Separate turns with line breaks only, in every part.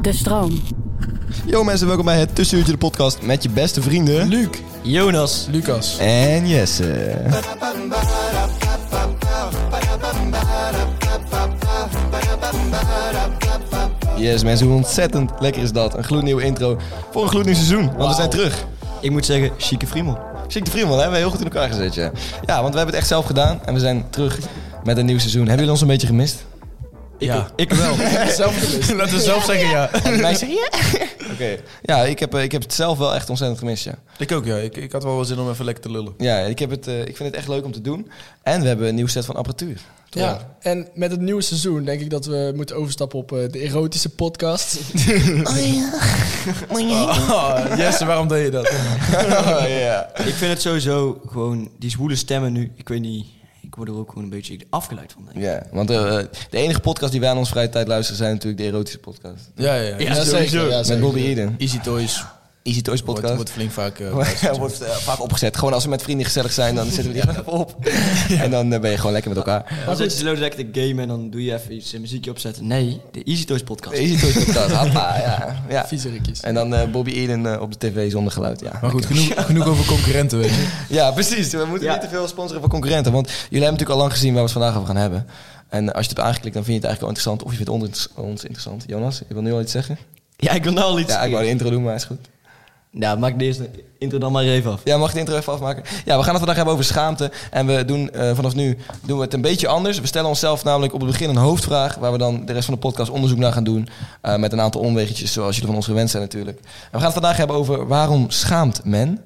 De stroom.
Yo mensen, welkom bij het Tussenuurtje de podcast met je beste vrienden... Luc, Jonas
Lucas.
en Jesse. Yes mensen, hoe ontzettend lekker is dat. Een gloednieuwe intro voor een gloednieuw seizoen, want we zijn terug.
Ik moet zeggen, chique friemel.
Ziek de Vriendman, hebben we heel goed in elkaar gezet, ja. Ja, want we hebben het echt zelf gedaan en we zijn terug met een nieuw seizoen. Hebben jullie ons een beetje gemist?
ja. Ik wel. Laten we zelf zeggen ja.
En mij zeggen ja. Oké. Ja, ik heb, eh, ik heb het zelf wel echt ontzettend gemist, ja.
Ik ook ja. Ik, ik had wel wel zin om even lekker te lullen.
Ja, ik, heb het, eh, ik vind het echt leuk om te doen. En we hebben een nieuw set van apparatuur. Toch?
Ja, en met het nieuwe seizoen denk ik dat we moeten overstappen op eh, de erotische podcast.
Oh,
Oh, Jesse, waarom deed je dat?
Ja.
Ik vind het sowieso gewoon, die zwoele stemmen nu, ik weet niet, ik word er ook gewoon een beetje afgeleid van. Denk ik.
Ja, want eh, de enige podcast die wij aan onze vrije tijd luisteren zijn natuurlijk de erotische podcast.
Ja, ja, ja.
Ja, zeker. Ja,
Met
zeker.
Bobby Eden.
Easy Toys
Easy Toys
wordt,
podcast.
wordt flink vaak... eh,
Ja, wordt eh, vaak opgezet. Gewoon als we met vrienden gezellig zijn, dan zetten we die even op. En dan eh, ben je gewoon lekker met elkaar.
Dan zit je zo direct te gamen en dan doe je even iets, een muziekje opzetten. Nee, de Easy Toys podcast.
De Easy Toys podcast, hoppa, ja. ja.
Viezerikjes.
En dan eh, Bobby Eden eh, op de tv zonder geluid, ja.
Maar goed, genoeg, genoeg over concurrenten, weet je.
Ja, precies. We moeten
Ja.
niet te veel sponsoren van concurrenten. Want jullie hebben natuurlijk al lang gezien waar we het vandaag over gaan hebben. En als je het hebt aangeklikt, dan vind je het eigenlijk wel interessant. Of je vindt onderinter- ons interessant. Jonas, je wil nu al iets zeggen?
Ja, ik wil nou al iets
Ja, ik wou de
zeggen.
intro doen, maar is goed.
Nou, maak de eerste intro dan maar even af.
Ja, mag ik de intro even afmaken? Ja, we gaan het vandaag hebben over schaamte. En we doen eh, vanaf nu doen we het een beetje anders. We stellen onszelf namelijk op het begin een hoofdvraag... waar we dan de rest van de podcast onderzoek naar gaan doen... eh, met een aantal omwegetjes, zoals jullie van ons gewend zijn natuurlijk. En we gaan het vandaag hebben over waarom schaamt men...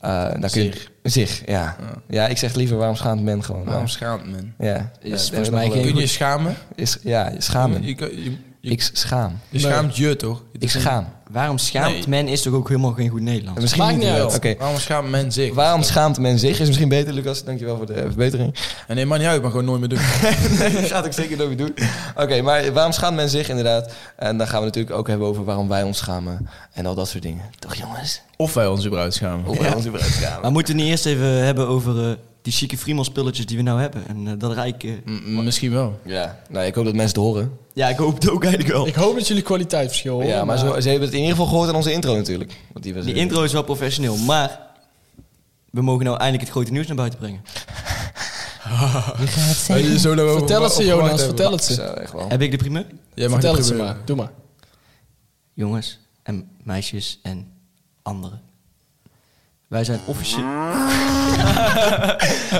Eh, nou kun je-
Zich.
Zich, ja. Ja, ik zeg liever waarom schaamt men gewoon.
Waarom schaamt men?
Ja, dus
Is volgens
dat
mij
nog wel
geen-
Kun je je schamen?
leuk. Is, ja, je schamen.
Je, kan- je, je-
Ah, Ik schaam.
je schaamt je toch? Het
Ik
is een-
schaam.
Waarom schaamt
Nee.
men is toch ook helemaal geen goed Nederlands?
Misschien
Maakt niet
wel.
uit.
Oké.
Waarom schaamt men zich?
Waarom schaamt men zich? Is misschien beter, Lucas. Dankjewel voor de verbetering.
En nee, maar niet uit, maar gewoon nooit meer doen.
dat gaat ik zeker nooit meer doen. Oké, maar waarom schaamt men zich inderdaad? En dan gaan we natuurlijk ook hebben over waarom wij ons schamen. En al dat soort dingen. Toch jongens?
Of wij ons überhaupt schamen.
Hoe wij ons überhaupt schamen.
Maar moeten we niet eerst even hebben over eh, die chique friemel spulletjes die we nou hebben? En eh, dat rijk... eh,
M- m- misschien wel.
Ja, nou ik hoop dat mensen het horen.
ja, ik hoop het ook eigenlijk wel.
Ik hoop dat jullie kwaliteitsverschil horen.
ja, maar zo, ze hebben het in ieder geval gehoord aan onze intro natuurlijk. Want die was
Die intro is wel professioneel, maar... We mogen nou eindelijk het grote nieuws naar buiten brengen.
Oh.
Hey, zo lang over-
Vertel het ze,
over-
Jonas.
over-
Vertel het
Zo,
ze.
echt wel.
Heb ik de primeur?
Jij mag
Vertel
niet
het ze
proberen.
maar. Doe maar.
jongens en meisjes en anderen. Wij zijn officieel.
We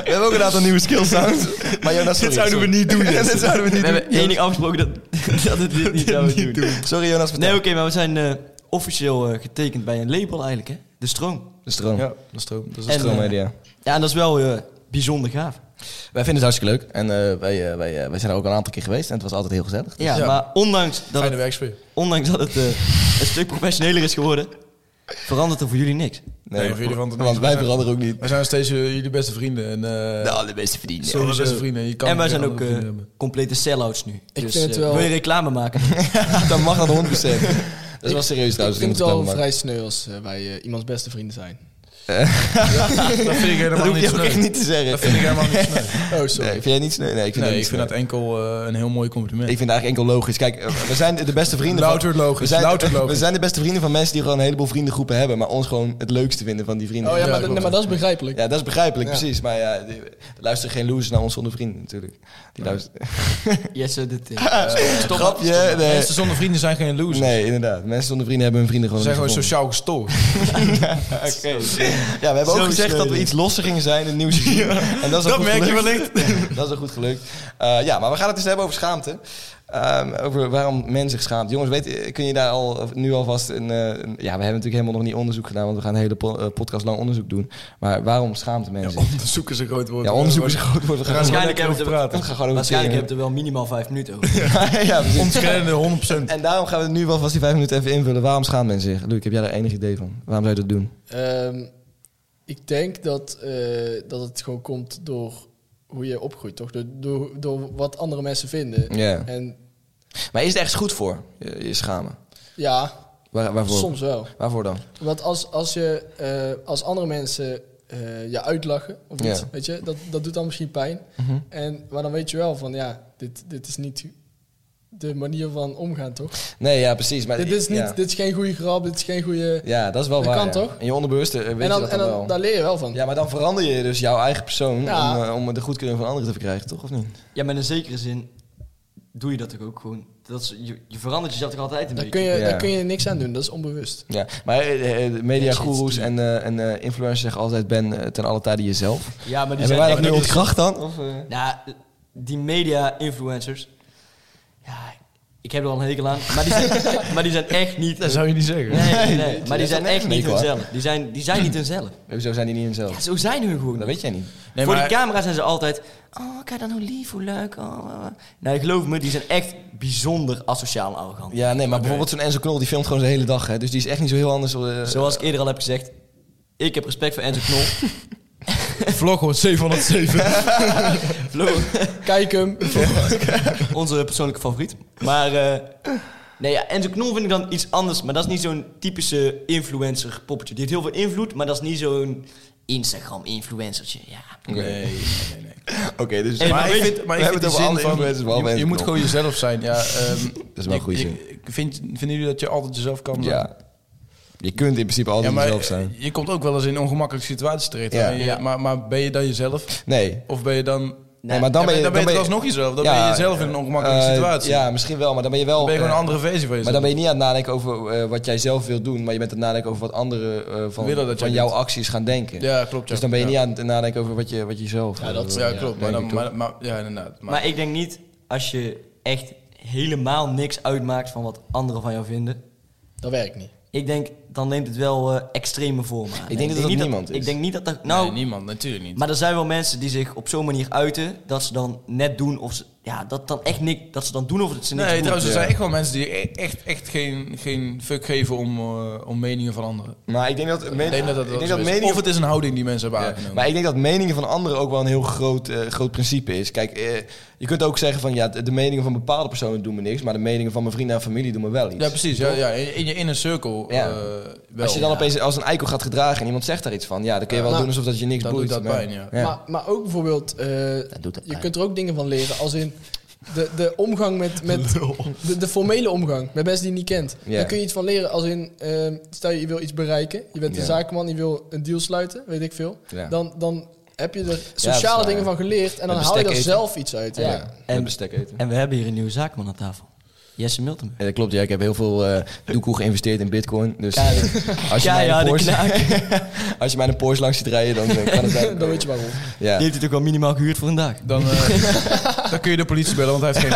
hebben ook een aantal nieuwe skill sounds. Maar Jonas, sorry, sorry.
niet doen.
Dit zouden we niet
We
doen.
hebben één ding afgesproken dat, dat we dit niet zouden doen.
Sorry Jonas,
Nee,
vertel.
oké, maar we zijn eh, officieel eh, getekend bij een label eigenlijk, hè? De Stroom.
De stroom.
Ja, dat is stroom. Dat is
En,
stroom.
eh,
Stroommedia.
Ja, en dat is wel eh, bijzonder gaaf.
Wij vinden het hartstikke leuk. En eh, wij, eh, wij, eh, wij zijn er ook een aantal keer geweest. En het was altijd heel gezellig.
Ja,
Ja.
maar ondanks dat
Fijne
het,
werksfeer.
ondanks dat het eh, een stuk professioneler is geworden, verandert er voor jullie niks.
Nee, voor jullie van het
want
niet.
wij veranderen ook niet.
Wij zijn nog steeds eh, jullie beste vrienden. En, eh
De allerbeste vrienden.
Zo.
Sowieso.
beste vrienden, je kan
en wij
geen
zijn ook
andere
eh,
vrienden hebben.
complete sell-outs nu.
Ik
dus
vind het
eh,
wel-
wil je reclame maken?
Dan mag dat 100%. Dat is wel serieus
Ik
trouwens.
vind het
dat
wel
moet ik dan
vrij sneu als eh, wij eh, iemands beste vrienden zijn.
maar-
Dat vind ik
Dat
helemaal
hoef
niet
je ook echt
sneu.
niet te zeggen.
Dat vind ik helemaal niet sneu.
Oh, sorry.
Nee, vind jij niet sneu? Nee, ik
Nee,
vind, dat,
ik
niet
vind dat
sneu.
enkel eh, een heel mooi compliment.
ik vind het eigenlijk enkel logisch. Kijk, eh, we zijn de beste vrienden van...
Louter logisch,
We zijn,
louter logisch.
we zijn de beste vrienden van mensen die gewoon een heleboel vriendengroepen hebben, maar ons gewoon het leukste vinden van die vrienden.
Oh ja, maar,
klopt.
nee, maar dat is begrijpelijk.
Ja, dat is begrijpelijk,
Ja.
precies. Maar ja, die- er luisteren geen losers naar ons zonder vrienden natuurlijk. Die luisteren...
Jesse, dit... eh.
Stop, Grapje, nee.
Mensen zonder vrienden zijn geen losers.
Nee, inderdaad. Mensen zonder vrienden hebben hun vrienden
Ze
gewoon
zijn
niet
gewoon sociaal
gevonden.
gestoord.
Ja, we hebben ook
Zo
gezegd dat we
sneu.
iets losser gingen zijn in het nieuws. En dat is ook goed gelukt.
wellicht.
Dat is ook goed gelukt. Eh, ja, maar we gaan het eens hebben over schaamte. Ehm, over waarom men zich schaamt. Jongens, weet, kun je daar al, nu alvast een... eh, een- ja, we hebben natuurlijk helemaal nog niet onderzoek gedaan... want we gaan een hele po- eh, podcast lang onderzoek doen. Maar waarom schaamt mensen zich?
Onderzoek is een groot woord.
Ja, onderzoek is een groot woord. We gaan gewoon-
Waarschijnlijk hebben we
we gaan
er-
gewoon
waarschijnlijk
over
hebben we er wel minimaal vijf minuten over.
teren. ja, precies.
Ontkennende 100%.
En daarom gaan we nu wel vast die vijf minuten even invullen. Waarom schaamt mensen zich? Luc, heb jij daar enig idee van? Waarom zou je dat doen?
Ehm, ik denk dat, eh, dat het gewoon komt door hoe je opgroeit, toch? Door, door, door wat andere mensen vinden.
Ja.
En
Maar is het ergens goed voor, eh, je, je schamen?
ja,
Waar- waarvoor?
soms wel.
Waarvoor dan?
Want als, als, je, eh, als andere mensen eh, je uitlachen of iets,
Ja.
weet je, dat, dat doet dan misschien pijn.
Mhm.
En, maar dan weet je wel van, ja, dit, dit is niet de manier van omgaan, toch?
Nee, ja, precies. Maar,
dit, dit is niet,
Ja,
dit is geen goede grap, dit is geen goede...
Ja, dat is wel
Dat
waar.
kan
ja.
toch?
In je onbewuste eh, weet
en
je
dan,
dat
en
dan
dan,
wel.
daar leer je wel van.
Ja, maar dan verander je dus jouw eigen persoon
Ja.
om, eh, om de goedkeuring van anderen te verkrijgen, toch? Of niet?
Ja, maar in zekere zin doe je dat toch ook gewoon. Dat is, je, je verandert jezelf toch altijd een
Daar
beetje.
kun, je,
Ja.
daar kun je niks aan doen, dat is onbewust.
Ja, maar eh, eh, mediagoeroes
Ja,
en, eh, en eh, influencers zeggen altijd ben eh, ten alle tijde jezelf.
Ja, maar die
Hebben wij
zijn...
dat nu
echt-
ontkracht dan? Of, eh?
Nou, die media-influencers... Ja, ik heb er al een hekel aan. Maar die zijn, maar die zijn echt niet...
Dat zou je niet zeggen.
Nee, nee,
Nee,
nee. Maar die
dat
zijn
is
echt
een
niet
hekel, hè?
hunzelf. Die zijn, die zijn niet hunzelf.
Hoezo zijn die niet hunzelf?
Ja, zo zijn hun gewoon.
Dat weet jij niet.
Nee,
Voor
maar-
die camera zijn ze altijd... Oh, kijk dan hoe lief, hoe leuk. Oh, oh, oh." Nee, geloof me, die zijn echt bijzonder asociaal en arrogant.
Ja, nee, maar bijvoorbeeld zo'n Enzo Knol, die filmt gewoon zijn hele dag. Hè, dus die is echt niet zo heel anders. eh,
Zoals ik eerder al heb gezegd... Ik heb respect voor Enzo Knol.
Vlog wordt 707.
Vlo-
Kijk hem.
Onze persoonlijke favoriet. Maar eh, nee, ja, Enzo Knol vind ik dan iets anders. Maar dat is niet zo'n typische influencer poppetje. Die heeft heel veel invloed, maar dat is niet zo'n Instagram influencertje. Ja.
Oké.
Nee, nee, nee.
Oké,
Dus
dus...
En-
Maar,
Maar
ik
weet-
vind, maar
we
ik vind
hebben
die
het over
zin
andere
van,
influencers, behalve
je, je
Enzo
moet
Knol.
gewoon jezelf zijn. Ja, ehm,
is wel een
ik-
goede
ik-
zin.
ik Vind, vinden jullie dat je altijd jezelf kan zijn?
Ja. Je kunt in principe altijd
Ja, maar
jezelf zijn.
je komt ook wel eens in ongemakkelijke situaties terecht.
Ja.
En je-
Ja.
Maar, maar ben je dan jezelf?
Nee.
Of ben je dan...
Nee, maar dan
Ja,
ben je...
dan ben je toch alsnog jezelf. Dan ben je jezelf in een ongemakkelijke
eh,
situatie.
Ja, misschien wel, maar dan ben je wel...
Dan ben je gewoon
eh,
een andere versie van
Maar
jezelf.
dan ben je niet aan het nadenken over eh, wat jij zelf wilt doen, maar je bent aan het nadenken over wat anderen eh, van,
Willen dat
van
jij
jouw
doet.
acties gaan denken.
Ja, klopt. ja.
Dus dan ben je
Ja.
niet aan het nadenken over wat je, wat je zelf
Ja, dat-
eh, wil.
Ja, klopt. Maar
denk
dan,
ik toch.
maar, maar, ja, inderdaad.
Maar,
Maar,
ik denk niet als je echt helemaal niks uitmaakt van wat anderen van jou vinden.
Dat werkt niet.
Ik denk, dan neemt het wel eh, extreme vormen aan.
denk dat dat
niet
niemand is.
Ik denk niet dat dat... Nou,
nee, niemand, natuurlijk niet.
maar er zijn wel mensen die zich op zo'n manier uiten... dat ze dan net doen of ze... Ja, dat, dan echt niks, dat ze dan doen of ze niks
Nee,
doen.
trouwens, er
ja.
zijn echt wel mensen die e- echt, echt geen, geen fuck geven om, eh, om meningen van anderen.
Maar ik denk dat, men-
Ik denk dat, dat,
ik denk
zo
dat
is.
meningen
Of het is een houding die mensen hebben
Ja,
aangenomen.
maar ik denk dat meningen van anderen ook wel een heel groot, eh, groot principe is. Kijk, eh, je kunt ook zeggen van ja, de de meningen van bepaalde personen doen me niks, maar de meningen van mijn vrienden en familie doen me wel iets.
ja, precies. Ja, ja, in in je inner circle
Ja.
eh, wel.
als je dan
Ja.
opeens als een eikel gaat gedragen en iemand zegt daar iets van, ja, dan kun je wel
Ja.
doen alsof dat je niks
Dan
boeit.
doet dat
maar-
pijn, ja.
Maar, maar ook bijvoorbeeld, eh,
doet dat
je
pijn.
kunt er ook dingen van leren. Als in de, de omgang met, met de, de formele omgang met mensen die je niet kent.
Ja.
Daar kun je iets van leren. Als in, eh, stel je, je wil iets bereiken. Je bent
Ja.
een zakenman, je wil een deal sluiten, weet ik veel.
Ja.
Dan, dan heb je er
dat is
sociale
waar,
dingen
ja.
van geleerd. En dan
Met
haal
bestek
je er
eten.
zelf iets uit. Ja.
Ja,
En-
met bestek eten.
En we hebben hier een nieuwe zaakman aan tafel. Jesse Miltenburg.
Ja, dat klopt. Ja, ik heb heel veel eh doekoe geïnvesteerd in bitcoin. Dus eh, als, je mij een
Keiharde
Porsche,
knaak. Die
als je mij een Porsche langs ziet rijden, dan eh, kan het zijn.
Dan weet je waarom.
Ja.
heeft het ook wel minimaal gehuurd voor een dag.
Dan, eh, dan kun je de politie bellen, want hij heeft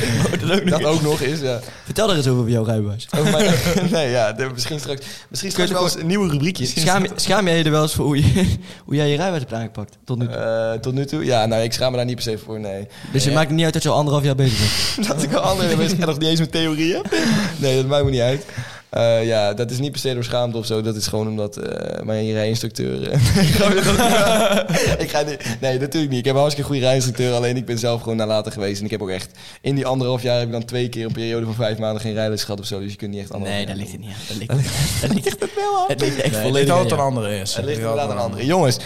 geen...
dat ook
Dat ook nog is, ja.
Vertel er eens over bij jouw rijbewijs.
Over mijn- nee, ja, de- misschien straks, misschien straks wel eens nieuwe rubriekjes.
Schaam, schaam jij je er wel eens voor hoe, je, hoe jij je rijbewijs hebt aangepakt tot nu toe?
Eh, tot nu toe? Ja, nou, ik schaam me daar niet per se voor, nee.
dus het maakt niet uit dat je al anderhalf jaar bezig bent.
Dat ik al andere mensen en nog niet eens met theorieën. Nee, dat maakt me niet uit. Eh, ja, dat is niet per se door schaamte of zo. Dat is gewoon omdat eh, mijn rijinstructeur... eh, ik ga weer dat- ik ga niet, nee, natuurlijk niet. Ik heb een hartstikke goede rijinstructeur. Alleen ik ben zelf gewoon nalatig geweest. En ik heb ook echt... In die anderhalf jaar heb ik dan twee keer een periode van vijf maanden geen rijles gehad of zo. Dus je kunt niet echt anderhalf
Nee, daar
jaar
ligt het niet aan. Dat ligt, dat ligt, het wel aan. Het ligt echt
Nee,
volledig
het
aan.
altijd een andere is.
Het ligt
altijd
inderdaad aan anderen. Jongens,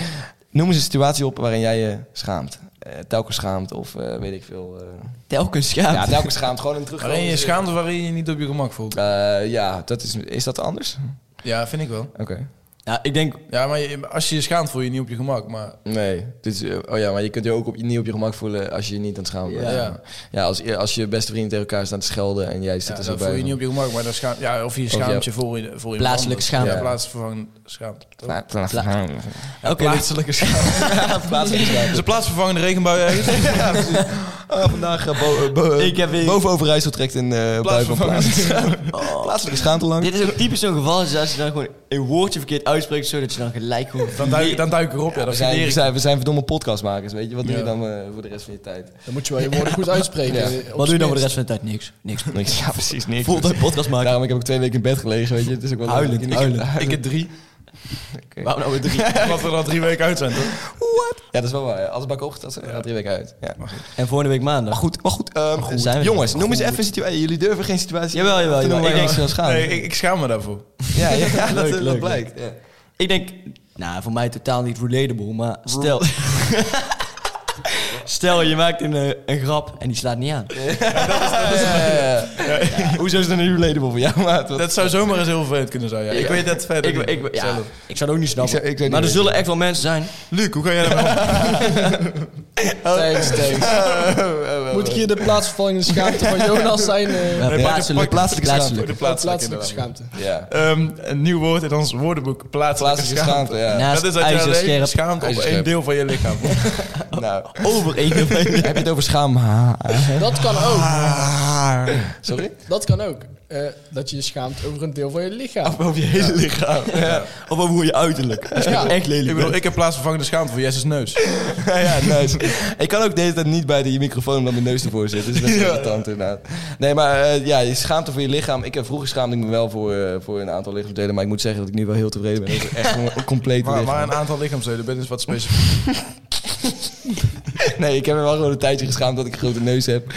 noem eens een situatie op waarin jij je schaamt. Eh, telkens schaamt of eh, weet ik veel. eh,
Telkens schaam.
ja, telkens schaamt. Gewoon een terug.
Waarin je schaamt of waarin je niet op je gemak voelt.
Eh, ja, dat is, is dat anders?
Ja, vind ik wel.
Oké.
Ja, ik denk...
Ja, maar je- als je je schaamt voel je je niet op je gemak. Maar
Nee. Dus, eh, oh ja, maar je kunt je ook op, niet op je gemak voelen als je je niet aan het schamen bent.
ja,
Ja, als, als je beste vrienden tegen elkaar staan te schelden en jij zit
Ja,
er zo
dan
bij.
voel je je niet op je gemak. Maar dan schaam, ja, of je schaamt je voor, je- voor je
Plaatselijke
schaamte.
schaamte.
Ja, plaatsvervangend schaamt. toch?
Nou, plaats-
Oké,
Plaatselijke schaamte.
plaats-
Is een plaatsvervangende regenbui ergens?
Ah, vandaag eh, bo- eh, bo-
Ik heb weer-
boven Overijssel trekt een eh bui van plaats. Oh. Plaatselijke schaamte lang.
dit is ook typisch zo'n geval. Dus als je dan gewoon een woordje verkeerd uitspreekt, zodat je dan gelijk gewoon...
Dan duik, dan duik ik erop. Ja,
we,
dan
zijn,
verleer
we,
ik.
zijn, we zijn verdomme podcastmakers, weet je. Wat doe je
Ja.
dan eh, voor de rest van je tijd?
Dan moet je wel je woorden goed uitspreken.
Ja.
eh, op
Wat doe je dan voor de
zijn
rest van de tijd? Niks. Niks.
Niks. Ja, precies niks.
Voelt dat podcast maken.
Daarom ik heb ik twee weken in bed gelegen, weet je. Het is ook wel eh,
Huilend,
Ik-
huilend.
Ik heb drie.
Oké.
Waarom nou weer drie?
Wat we er al drie weken uit zijn. toch?
Ja, dat is wel waar. ja. Als het bak ochtend, dat gaat drie weken uit. Ja. Maar
En volgende week maandag.
goed, maar goed. ehm,
goed. Zijn we-
jongens, noem eens even een situatie. Jullie durven geen situatie.
Jawel, jawel,
te
jawel.
noemen
Ik
waarin
denk-
je je schaam.
Nee, ik, ik schaam me daarvoor.
Ja, ja, ja, dat,
Leuk,
dat
leuk,
blijkt. Ja.
Ik denk, nou, voor mij totaal niet relatable, maar stel. stel, je maakt een, eh, een grap en die slaat niet aan.
Hoezo is het een relatable voor jou, maat? Wat-
Dat zou zomaar eens heel vervelend kunnen zijn. Ja. Ik weet dat verder.
Ik, ik,
niet.
ja,
Zelf.
ik zou het ook niet snappen.
Ik zou- ik zou niet
maar er
weten.
zullen echt wel mensen zijn.
Luc, hoe ga jij daarmee om?
Thanks, thanks. Moet ik hier de plaatsvervangende schaamte van Jonas zijn? eh,
Ja,
pak je-
plaatselijk.
pak je-
plaatselijk.
Voor de plaatselijke,
plaatselijke
inderdaad.
schaamte.
Ja.
Ehm, een nieuw woord in ons woordenboek. Plaatselijke,
Plaatselijke schaamte, ja.
Naast
Dat is dat je alleen
ijzerscherp.
schaamt op
Ijzerscherp.
één deel van je lichaam.
Nou,
Over één of één.
heb je het over schaam?
Dat kan ook.
Ah.
Sorry?
Dat kan ook. Eh, dat je je schaamt over een deel van je lichaam.
Over je hele lichaam. Of over hoe je uiterlijk. Dat is
Ja.
echt lelijk.
ik bedoel, ik heb plaatsvervangende schaamte voor Jesse's neus.
Ja, ja, nice. ik kan ook deze tijd niet bij de je microfoon omdat mijn neus ervoor zit. Dus dat is irritant inderdaad. Nee, maar eh, ja, je schaamte voor je lichaam. Ik heb vroeger schaamde ik me wel voor, eh, voor een aantal lichaamsdelen. Maar ik moet zeggen dat ik nu wel heel tevreden ben. over echt gewoon een complete
Maar, maar
lichaam.
een aantal lichaamsleden, ben is wat specifiek.
Nee, ik heb me wel gewoon een tijdje geschaamd dat ik een grote neus heb.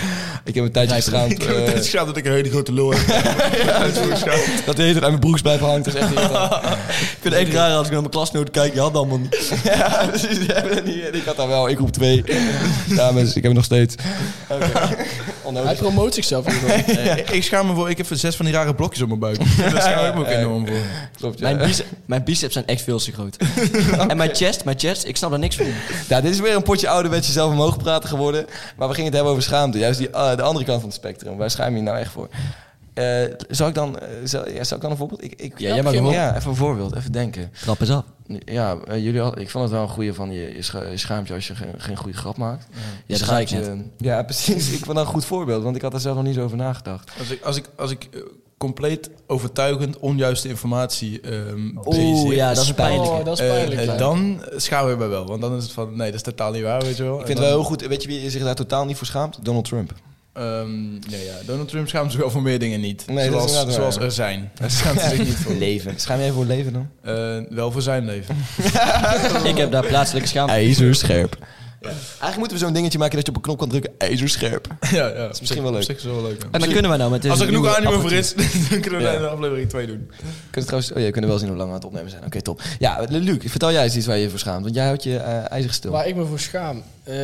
Ik heb een tijdje geschaamd
Ik heb
eh,
het schaamd dat ik een hele grote lul heb. Ja, dat is voor schaamte.
dat de hele tijd aan mijn broekspijp hangt. Dat is echt irritant.
ik vind het echt raar als ik naar mijn klasnoten kijk. Je had dat allemaal niet.
ja, precies. Ja, dat niet- Ik had daar wel, ik roep twee. Dames, ik heb het nog steeds.
Hij promoot zichzelf. in ieder geval.
Ik- Ik schaam me voor, ik heb zes van die rare blokjes op mijn buik. Daar schaam ik me ook enorm voor.
Klopt, ja.
Mijn, bice- mijn biceps zijn echt veel te groot. En mijn chest, mijn chest, ik snap daar niks van.
Ja, dit is weer een potje ouderwets jezelf omhoog praten geworden. Maar we gingen het hebben over schaamte. Juist die, eh, de andere kant van het spectrum. Waar schaam je je nou echt voor? Eh, zal, ik dan, eh, zal, ja, zal ik dan een voorbeeld? Ik, ik,
jij mag
begin-
wel.
Ja, even een voorbeeld. Even denken.
Grap is af.
Ja, eh, jullie hadden- ik vond het wel een goede van je, je, scha- je schaamt je als je geen, geen goede grap maakt. Je
dat zei ik
schaamt je- Ja, precies. Ik vond dat een goed voorbeeld, want ik had daar zelf nog niet zo over nagedacht.
Als ik, als ik, als ik eh, compleet overtuigend onjuiste informatie ehm
Oeh,
presenteer,
ja, dat is een pijnlijke.
Oh, dat is
eh,
pijnlijk.
eh,
ja.
dan schaam ik me wel. Want dan is het van, nee, dat is totaal niet waar, weet je wel.
Ik vind
En
het wel
dan,
heel goed. Weet je wie zich daar totaal niet voor schaamt? Donald Trump.
ehm, nee, ja, Donald Trump schaamt zich wel voor meer dingen niet.
Nee, dat is
zoals,
inderdaad waar,
zoals
ja.
er zijn. Daar schaamt hij zich niet voor.
Leven. Schaam jij voor leven dan?
Eh, wel voor zijn leven.
Ik heb daar plaatselijke schaamte.
IJzerscherp. Eigenlijk moeten we zo'n dingetje maken dat je op een knop kan drukken. IJzerscherp.
ja, ja. Dat is
misschien wel leuk.
Is wel leuk. ja.
En dan kunnen we nou met deze
Als er genoeg
nieuwe
anime voor
apparatuur.
is, dan kunnen we
Ja.
daar een aflevering 2 doen.
Kunnen trouwens, oh ja, kunnen wel zien hoe lang we aan het opnemen zijn. Oké, top. Ja, Luc, vertel jij eens iets waar je je voor schaamt. Want jij houdt je eh, ijzig stil.
Waar ik me voor schaam. Eh,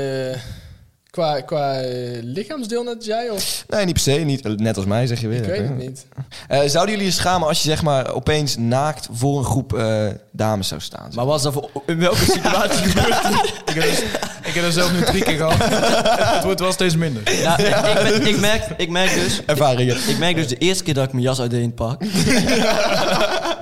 qua qua eh, lichaamsdeel net jij? Of?
Nee, niet per se. Niet, eh, net als mij, zeg je weer.
Ik weet het
Oké.
niet.
Eh, zouden jullie je schamen als je zeg maar opeens naakt voor een groep eh, dames zou staan?
Maar was dat voor, in welke situatie?
Ik heb, dus, ik heb er zelf nu drie keer gehad. het wordt wel steeds minder.
nou, ik, ben- ik, merk, ik merk dus...
Ervaringen.
Ik merk dus de eerste keer dat ik mijn jas uitdeed in het park.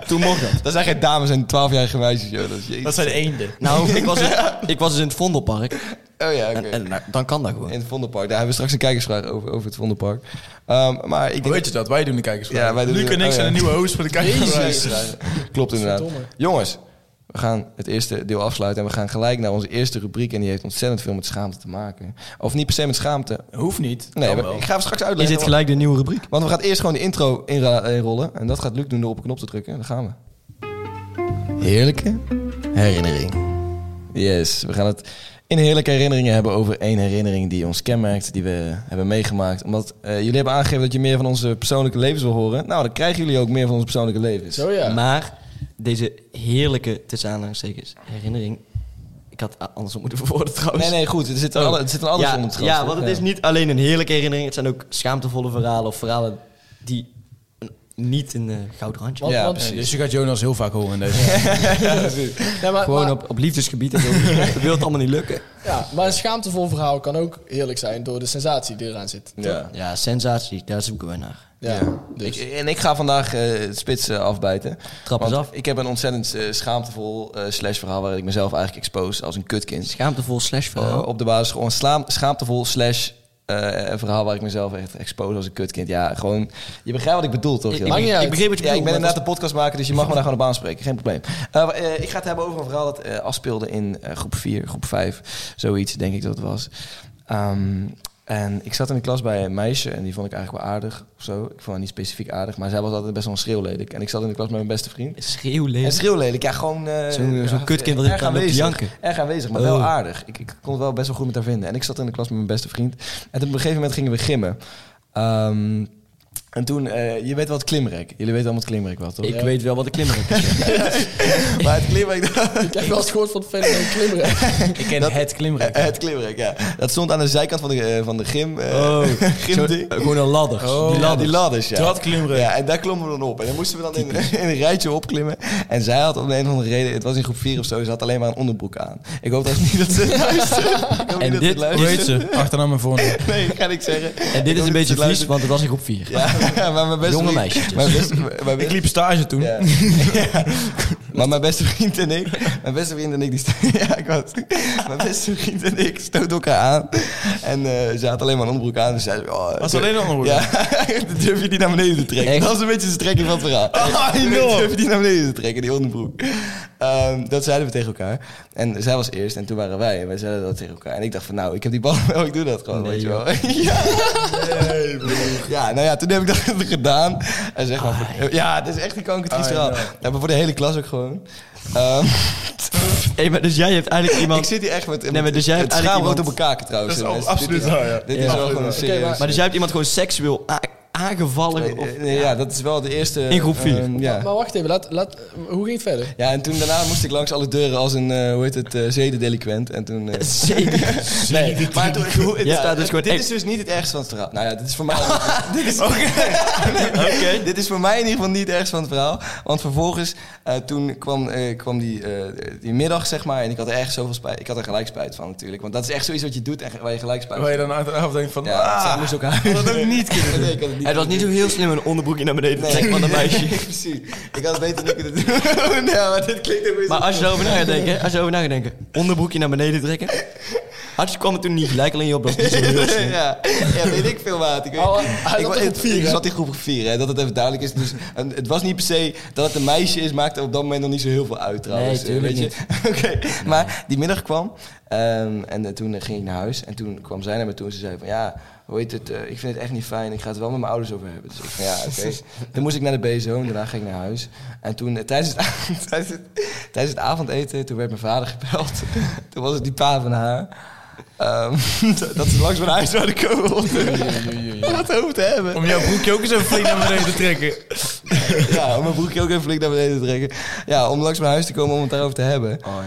Toen mocht dat.
Dat zijn geen dames en 12-jarige meisjes, joh. Dat is jezus.
Dat zijn eenden.
Nou, ik was, ik was dus in het Vondelpark.
Oh ja, oké.
En, en nou, dan kan dat gewoon.
In het Vondelpark. Daar hebben we straks een kijkersvraag over, over het Vondelpark. Ehm, maar ik denk...
Weet je dat? Wij doen de kijkers.
Ja, wij doen
Luc
de-
en ik
oh, ja.
zijn de nieuwe host van de kijkers.
Klopt inderdaad.
Verdomme.
Jongens, We gaan het eerste deel afsluiten en we gaan gelijk naar onze eerste rubriek. En die heeft ontzettend veel met schaamte te maken. Of niet per se met schaamte.
Hoeft niet.
Nee,
Kan
we-
wel. Eh,
ik ga hem straks uitleggen.
Is dit gelijk de nieuwe rubriek?
Want we gaan eerst gewoon de intro inra- inrollen. En dat gaat Luc doen door op een knop te drukken. En daar gaan we. Heerlijke herinnering. Yes, we gaan het in heerlijke herinneringen hebben over één herinnering die ons kenmerkt, die we hebben meegemaakt. Omdat eh, jullie hebben aangegeven dat je meer van onze persoonlijke levens wil horen. Nou, dan krijgen jullie ook meer van onze persoonlijke levens.
Zo ja.
Maar deze heerlijke, tussen aanhalingstekens, herinnering. Ik had a- andersom moeten verwoorden trouwens. Oh.
Nee, nee, goed. Er zit, Oh, alle, er zit een alles
ja,
onder het gras,
Ja,
toch?
want het is niet alleen een heerlijke herinnering. Het zijn ook schaamtevolle verhalen of verhalen die een- niet een eh, goud randje
Wat-
Ja,
wat-
Ja,
precies.
dus je gaat Jonas heel vaak horen in deze.
Nee, maar,
Gewoon
maar-
op, op liefdesgebied. Dat wil, dat wil het allemaal niet lukken.
ja, maar een schaamtevol verhaal kan ook heerlijk zijn door de sensatie die eraan zit.
Ja.
Ja, sensatie. Daar zoeken we naar.
Ja,
Ja.
dus.
Ik, en ik ga vandaag eh, het spits eh, afbijten.
Trap
Want
eens af.
Ik heb een ontzettend eh, schaamtevol eh, slash verhaal waarin ik mezelf eigenlijk expose als een kutkind.
Schaamtevol slash verhaal.
Eh, op de basis gewoon slaam- schaamtevol slash eh, een verhaal waar ik mezelf echt expose als een kutkind. Ja, gewoon... Je begrijpt wat ik bedoel, toch?
Ik-
Jonas?
Maakt niet uit.
ik begreep wat je
ja, ik ben
bedoelt, maar
inderdaad een podcastmaker, dus je mag me daar gewoon op aanspreken. Geen probleem. Eh, wa- eh, ik ga het hebben over een verhaal dat eh, afspeelde in eh, groep 4, groep 5. Zoiets, denk ik dat het was. Ehm, en ik zat in de klas bij een meisje en die vond ik eigenlijk wel aardig of zo. Ik vond haar niet specifiek aardig, maar zij was altijd best wel een schreeuwlelijk. En ik zat in de klas met mijn beste vriend.
Schreeuwleven.
En schreeuwlelijk, ja, gewoon... eh,
Zo'n-
ja,
zo'n kutkind dat
erg
ik aan loopt te
aanwezig.
janken.
Erg aanwezig, maar
Oh.
wel aardig. Ik, ik kon het wel best wel goed met haar vinden. En ik zat in de klas met mijn beste vriend. En op een gegeven moment gingen we gimmen. Ehm, en toen, eh, je weet wel het klimrek. Jullie weten allemaal het klimrek wel, toch?
Ik weet wel wat de klimmer is.
Maar het klimrek, dat-
Ik heb wel eens gehoord van het fenomeen klimmeren.
Ik ken het klimrek.
het klimrek, ja. Dat stond aan de zijkant van de, eh, van de gym. eh,
Oh,
gymding.
gewoon een
Oh.
ladder. die
ja,
ladder.
die ladders, ja.
Dat klimrek.
Ja, en daar klommen we dan op. En dan moesten we dan in, in een rijtje opklimmen. En zij had om de een of andere reden, het was in groep 4 of zo, ze had alleen maar een onderbroek aan. Ik hoop dat niet dat ze luistert. Ik hoop niet
En
dat
dit-
ze luistert.
Hoe heet ze? Achternaam en voornaam.
Nee, ga ik zeggen.
En dit is een beetje vies, want het was in groep 4.
Ja, maar mijn beste
Jonge
vriend-
meisjes.
Mijn beste, mijn beste-
Ik liep stage toen.
Ja. Ja. Maar mijn beste vriend en ik, mijn beste vriend en ik, die st- ja, ik was, mijn beste vriend en ik stoten elkaar aan. En eh, ze had alleen maar een onderbroek aan. Dus zei, ze, oh,
Was alleen een onderbroek
Ja, dat durf je niet naar beneden te trekken.
Echt?
Dat was een beetje de strekking van het verhaal. Ah,
joh.
durf je niet naar beneden te trekken, die onderbroek. Ehm, dat zeiden we tegen elkaar. En zij was eerst en toen waren wij. En wij zeiden dat tegen elkaar. En ik dacht van, nou, ik heb die bal wel, ik doe dat gewoon,
Nee,
weet je wel. ja. ja, nou ja, toen heb ik dat gedaan. En zeg maar, voor- ja, het is echt een kankertriest verhaal. Ja, maar voor de hele klas ook gewoon. Ehm,
Hey, maar dus jij hebt eigenlijk
ik
iemand...
zit hier echt met,
Nee, maar dus jij
het
hebt eigenlijk
schaamrood op
iemand-
elkaar trouwens.
Dat is
Dit
absoluut waar, ja.
Dit
Ja.
is wel gewoon
Oké,
serieus.
maar-
Maar dus jij hebt iemand gewoon seksueel a- aangevallen? Of...
Nee, nee, ja, dat is wel de eerste...
In groep vier.
ehm, ja.
Maar wacht even, laat, laat, hoe ging het verder?
Ja, en toen daarna moest ik langs alle deuren als een, eh, hoe heet het, eh zedendelinquent. En toen... eh,
Zeker.
nee, maar toen, hoe- het
Ja,
staat
dus
dus
gewoon-
dit
hey.
is dus niet het ergste van het verhaal. Nou ja, dit is voor mij... dit, is,
Oké.
dit is voor mij in ieder geval niet het ergste van het verhaal. Want vervolgens, eh, toen kwam, eh, kwam die, eh, die middag, zeg maar, en ik had er echt zoveel spijt... Ik had er gelijk spijt van natuurlijk, want dat is echt zoiets wat je doet en waar je gelijk spijt van
Waar je dan achteraf denkt van...
Ja,
ah,
zij moest ook huilen.
dat had ik niet kunnen doen.
Nee, ik had het niet
Het was niet zo heel slim een onderbroekje naar beneden te trekken van een meisje.
Precies. Ik had het beter niet kunnen doen. ja, maar dit klinkt ook weer zo-
Maar als je erover na gaat denken, als je erover na gaat denken, onderbroekje naar beneden trekken. Had je kwam het toen niet gelijk, alleen je op dat is niet zo heel slim.
ja, ja, weet ik veel maat. Ik, weet,
Oh, hij
ik,
zat
wa-
in groep vier,
ik
hè?
zat in groep 4, hè, dat het even duidelijk is. Dus, en het was niet per se dat het een meisje is, maakte op dat moment nog niet zo heel veel uit trouwens.
Nee, tuurlijk
Weet je? Oké, maar die middag kwam ehm, en eh, toen eh, ging ik naar huis. En toen kwam zij naar me toe en ze zei van ja, hoe heet het, eh, ik vind het echt niet fijn. Ik ga het wel met mijn ouders over hebben. Dus ik van ja, oké. Toen moest ik naar de BSO en daarna ging ik naar huis. En toen eh, tijdens, het, tijdens, het, tijdens het avondeten, toen werd mijn vader gebeld. toen was het die pa van haar. Ehm, dat ze langs mijn huis zouden komen om het hoofd te hebben.
Om jouw broekje ook eens even flink naar beneden te trekken.
Ja, om mijn broekje ook even flink naar beneden te trekken. Ja, om langs mijn huis te komen om het daarover te hebben.
Oh,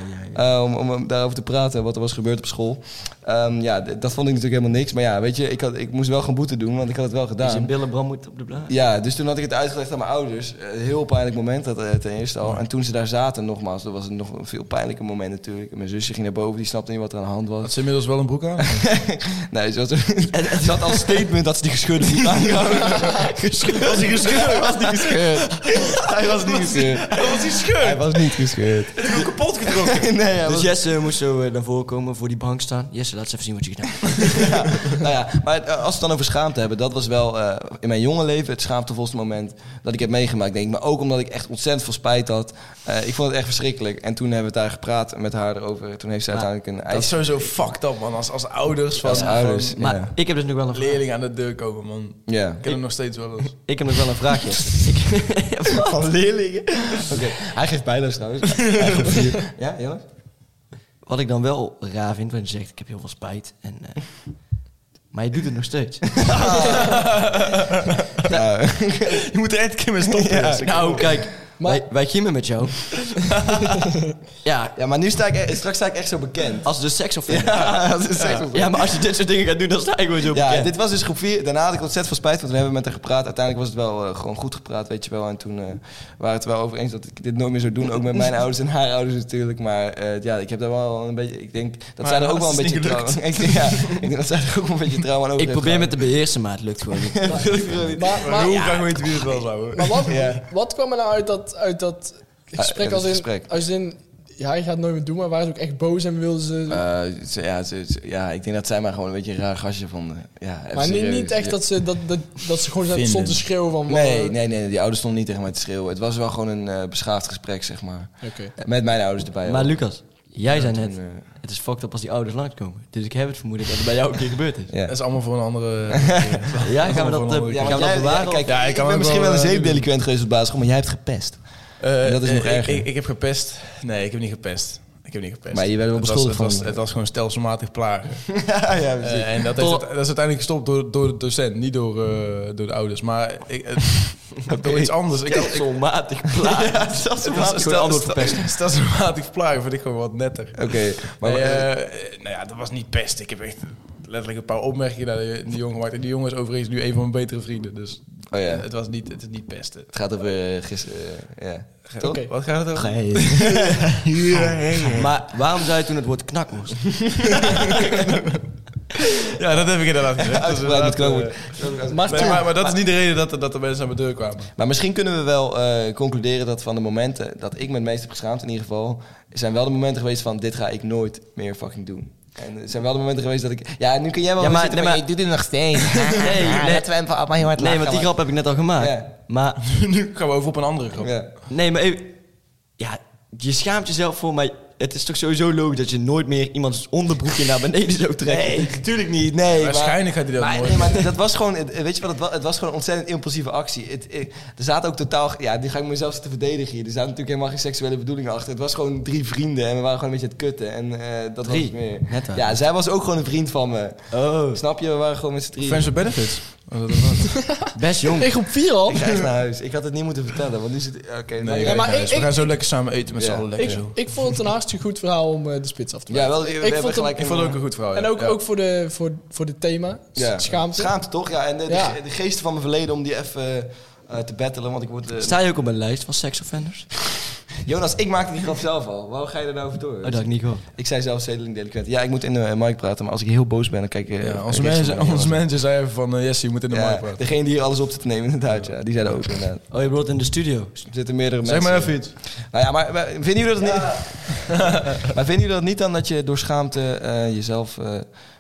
Eh, om, om, om daarover te praten, wat er was gebeurd op school. Ehm, ja, d- dat vond ik natuurlijk helemaal niks. Maar ja, weet je, ik, had, ik moest wel gaan boete doen, want ik had het wel
Dus je
gedaan.
billen brand moet op de blaad.
Ja, dus toen had ik het uitgelegd aan mijn ouders. Eh, Een heel pijnlijk moment, dat, eh, ten eerste al. En toen ze daar zaten, nogmaals, dat was een nog veel pijnlijker moment natuurlijk. En Mijn zusje ging naar boven, die snapte niet wat er aan de hand was.
Had ze inmiddels wel een broek aan?
Nee, ze had, ze had als statement dat ze die gescheurde fiets aangehouden.
Was hij gescheurd? Was hij gescheurd?
hij was niet gescheurd.
was die scheur.
Hij was niet gescheurd.
Ik heb kapot gedrokken.
nee, hij
Dus
was-
Jesse moest zo eh, naar voren komen, voor die bank staan. Jesse, laat eens even zien wat je gedaan hebt.
nou ja, maar eh, als we het dan over schaamte hebben, dat was wel eh, in mijn jonge leven het schaamtevolste moment dat ik heb meegemaakt, denk ik. Maar ook omdat ik echt ontzettend veel spijt had. Eh, ik vond het echt verschrikkelijk. En toen hebben we daar gepraat met haar erover. Toen heeft zij
Maar
uiteindelijk een
Dat is
ijs
sowieso fucked up, man. Als, als ouders van,
als ouders.
van
Maar
ja.
ik heb dus nog wel een vraag.
leerlingen aan de deur komen, man.
Ja.
Ik heb hem nog steeds wel eens.
Ik heb nog wel een vraag, Jesse. Ik-
Van leerlingen. Oké, hij geeft bijles trouwens. Hij geeft vier. ja, Jonas?
Wat ik dan wel raar vind, want je zegt, ik heb heel veel spijt. En, eh, maar je doet het nog steeds.
Ja.
Je moet er echt een keer mee stoppen. Jesse.
nou, kijk.
Maar-
wij, wij gymmen met jou. ja,
Ja, maar nu sta ik, e- straks sta ik echt zo bekend.
als de seks of ja.
Ja, dat is echt zo
ja, maar als je dit soort dingen gaat doen, dan sta ik gewoon zo
Ja,
bekend.
dit was dus groep 4. Daarna had ik ontzettend veel spijt, want we hebben met haar gepraat. Uiteindelijk was het wel eh, gewoon goed gepraat, weet je wel. En toen eh, waren we het wel over eens dat ik dit nooit meer zou doen. Ook met mijn ouders en haar ouders natuurlijk. Maar eh, ja, ik heb daar wel een beetje... Ik denk dat
Maar
zij er ook wel een
dat is
beetje
niet
trouw...
gelukt.
Ik, denk- ja, ik denk dat zij er ook wel een beetje trouw aan over
ik
heeft
probeer met
gehouden.
de beheersen, maar het lukt gewoon niet.
Maar, maar,
Maar hoe
maar,
graag weet je wie het wel zou hoor.
wat,
Ja. Ah,
wat kwam er nou uit dat, uit dat gesprek?
dat
als in,
gesprek.
Als in, ja, je gaat het nooit meer doen, maar waren ze ook echt boos en wilden ze...
Eh, ze- ja, ze- ze- ja, ik denk dat zij maar gewoon een beetje een raar gastje vonden. Ja, even
maar niet,
serieus.
niet echt dat ze, dat, dat, dat ze gewoon
Vinden.
stonden te schreeuwen van...
Nee,
wat-
nee, nee, die ouders stonden niet tegen mij te schreeuwen. Het was wel gewoon een eh, beschaafd gesprek, zeg maar.
Oké.
Met mijn ouders erbij.
Maar
ook.
Lucas, jij zei net,
toen, eh,
het is fucked up als die ouders langskomen. Dus ik heb het vermoeden dat het bij jou een keer gebeurd is.
ja.
Dat is allemaal voor een andere...
Ja, gaan we dat, eh,
Ja,
gaan
want
we dat
jij-
bewaren?
ja, kijk,
Ja, ik
ik,
kan
ben
ook
misschien
wel,
wel een
eh,
zeepdelinquent geweest op de basisschool, maar jij hebt gepest.
Eh,
Dat is nog
eh, ik,
erger.
ik, ik heb gepest. Nee, ik heb niet gepest. Ik heb niet gepest.
Maar je werd wel
Het was-
beschuldigd
het
van-
was- Het was gewoon stelselmatig plagen.
ja, ja,
Eh, en dat, heeft,
Tot-
dat is uiteindelijk gestopt door, door de docent, niet door, eh, door de ouders. Maar ik, eh, door iets anders. Ik, had- ik,
Stelselmatig plaat.
het was-
Gewoon antwoord
stel-
verpest.
Stelselmatig plagen vind ik gewoon wat netter.
Oké, maar
Maar,
eh,
nou ja, dat was niet pest. Ik heb echt letterlijk een paar opmerkingen naar die, die jongen gemaakt. En die jongen is overigens nu een van mijn betere vrienden. Dus
Oh ja.
eh, het was niet, het is niet pesten.
het gaat over eh, gisteren. eh, ja. Toch?
Oké.
Wat gaat het over?
Maar waarom zei je toen het woord knakworst?
Oh,
Ja, dat heb ik inderdaad gezegd. Dat is
Uitgebreid
inderdaad,
met knooppunt.
eh,
Maar
nee, maar, maar dat is niet de reden dat, er- dat de mensen aan mijn deur kwamen.
Maar Nou, misschien kunnen we wel eh, concluderen dat van de momenten dat ik me het meest heb geschaamd, in ieder geval, zijn wel de momenten geweest van dit ga ik nooit meer fucking doen. En er zijn wel de momenten geweest dat ik. Ja, nu kun jij wel.
Ja, maar-
zitten
nee,
van,
maar-
je doet dit nog steeds. nee,
nee.
Laten we hem van mij heel hard lachen,
Nee, want die
maar-
grap heb ik net al gemaakt.
Ja.
Maar
nu gaan we over op een andere grap.
Ja.
Nee, maar even- ja, je schaamt jezelf voor, maar het is toch sowieso logisch dat je nooit meer iemands onderbroekje naar beneden zou trekken.
Nee, natuurlijk niet. Nee, maar-
Waarschijnlijk gaat hij dat
maar,
nooit
nee, maar dat was gewoon, het- weet je wat, het was, het was gewoon een ontzettend impulsieve actie. Het, ik- er zaten ook totaal, ja, die ga ik mezelf zitten verdedigen hier. Er zaten natuurlijk helemaal geen seksuele bedoelingen achter. Het was gewoon drie vrienden en we waren gewoon een beetje aan het kutten. En eh, dat was
Drie?
het meer.
Net waar.
ja, zij was ook gewoon een vriend van me.
Oh,
Snap je, we waren gewoon met z'n drieën.
Friends with benefits. Oh, dat- dat-
best jong.
Ik op vier al?
Ik ga echt naar huis. Ik had het niet moeten vertellen, want nu zit... Oké, nou,
Nee,
ja,
maar
maar
ik-
we
ik-
gaan zo lekker samen eten met
Ja.
z'n allen. Lekker
Ik,
zo.
ik vond het een hartstikke goed verhaal om eh, de spits af te
ja,
maken.
wel, we
ik
hebben
vond hem-
gelijk
Ik
een-
vond het ook een goed verhaal. ja.
En ook,
Ja.
ook voor, de, voor, voor dit thema,
ja.
schaamte.
Schaamte, toch? Ja, en de, de,
Ja.
de geesten van mijn verleden om die even eh, te battelen, want ik word... eh,
Sta je ook op een lijst van seksoffenders?
Oh, Jonas, ik maakte die grap zelf al. Waarom ga je er nou over door?
Oh, dat had ik niet hoor.
Ik zei zelf zedeling delinquent. Ja, ik moet in de eh, mic praten, maar als ik heel boos ben, dan kijk ik...
Ja, onze, manager, onze manager zei even van, eh, Jesse, je moet in de markt praten.
degene die hier alles op zit te nemen, inderdaad. Ja, die zijn er ook, inderdaad.
Oh, je bedoelt in de studio.
Er zitten meerdere
Zeg
mensen.
maar even iets.
Nou ja, maar, maar vinden jullie dat niet... maar vinden jullie dat niet dan dat je door schaamte eh, jezelf eh,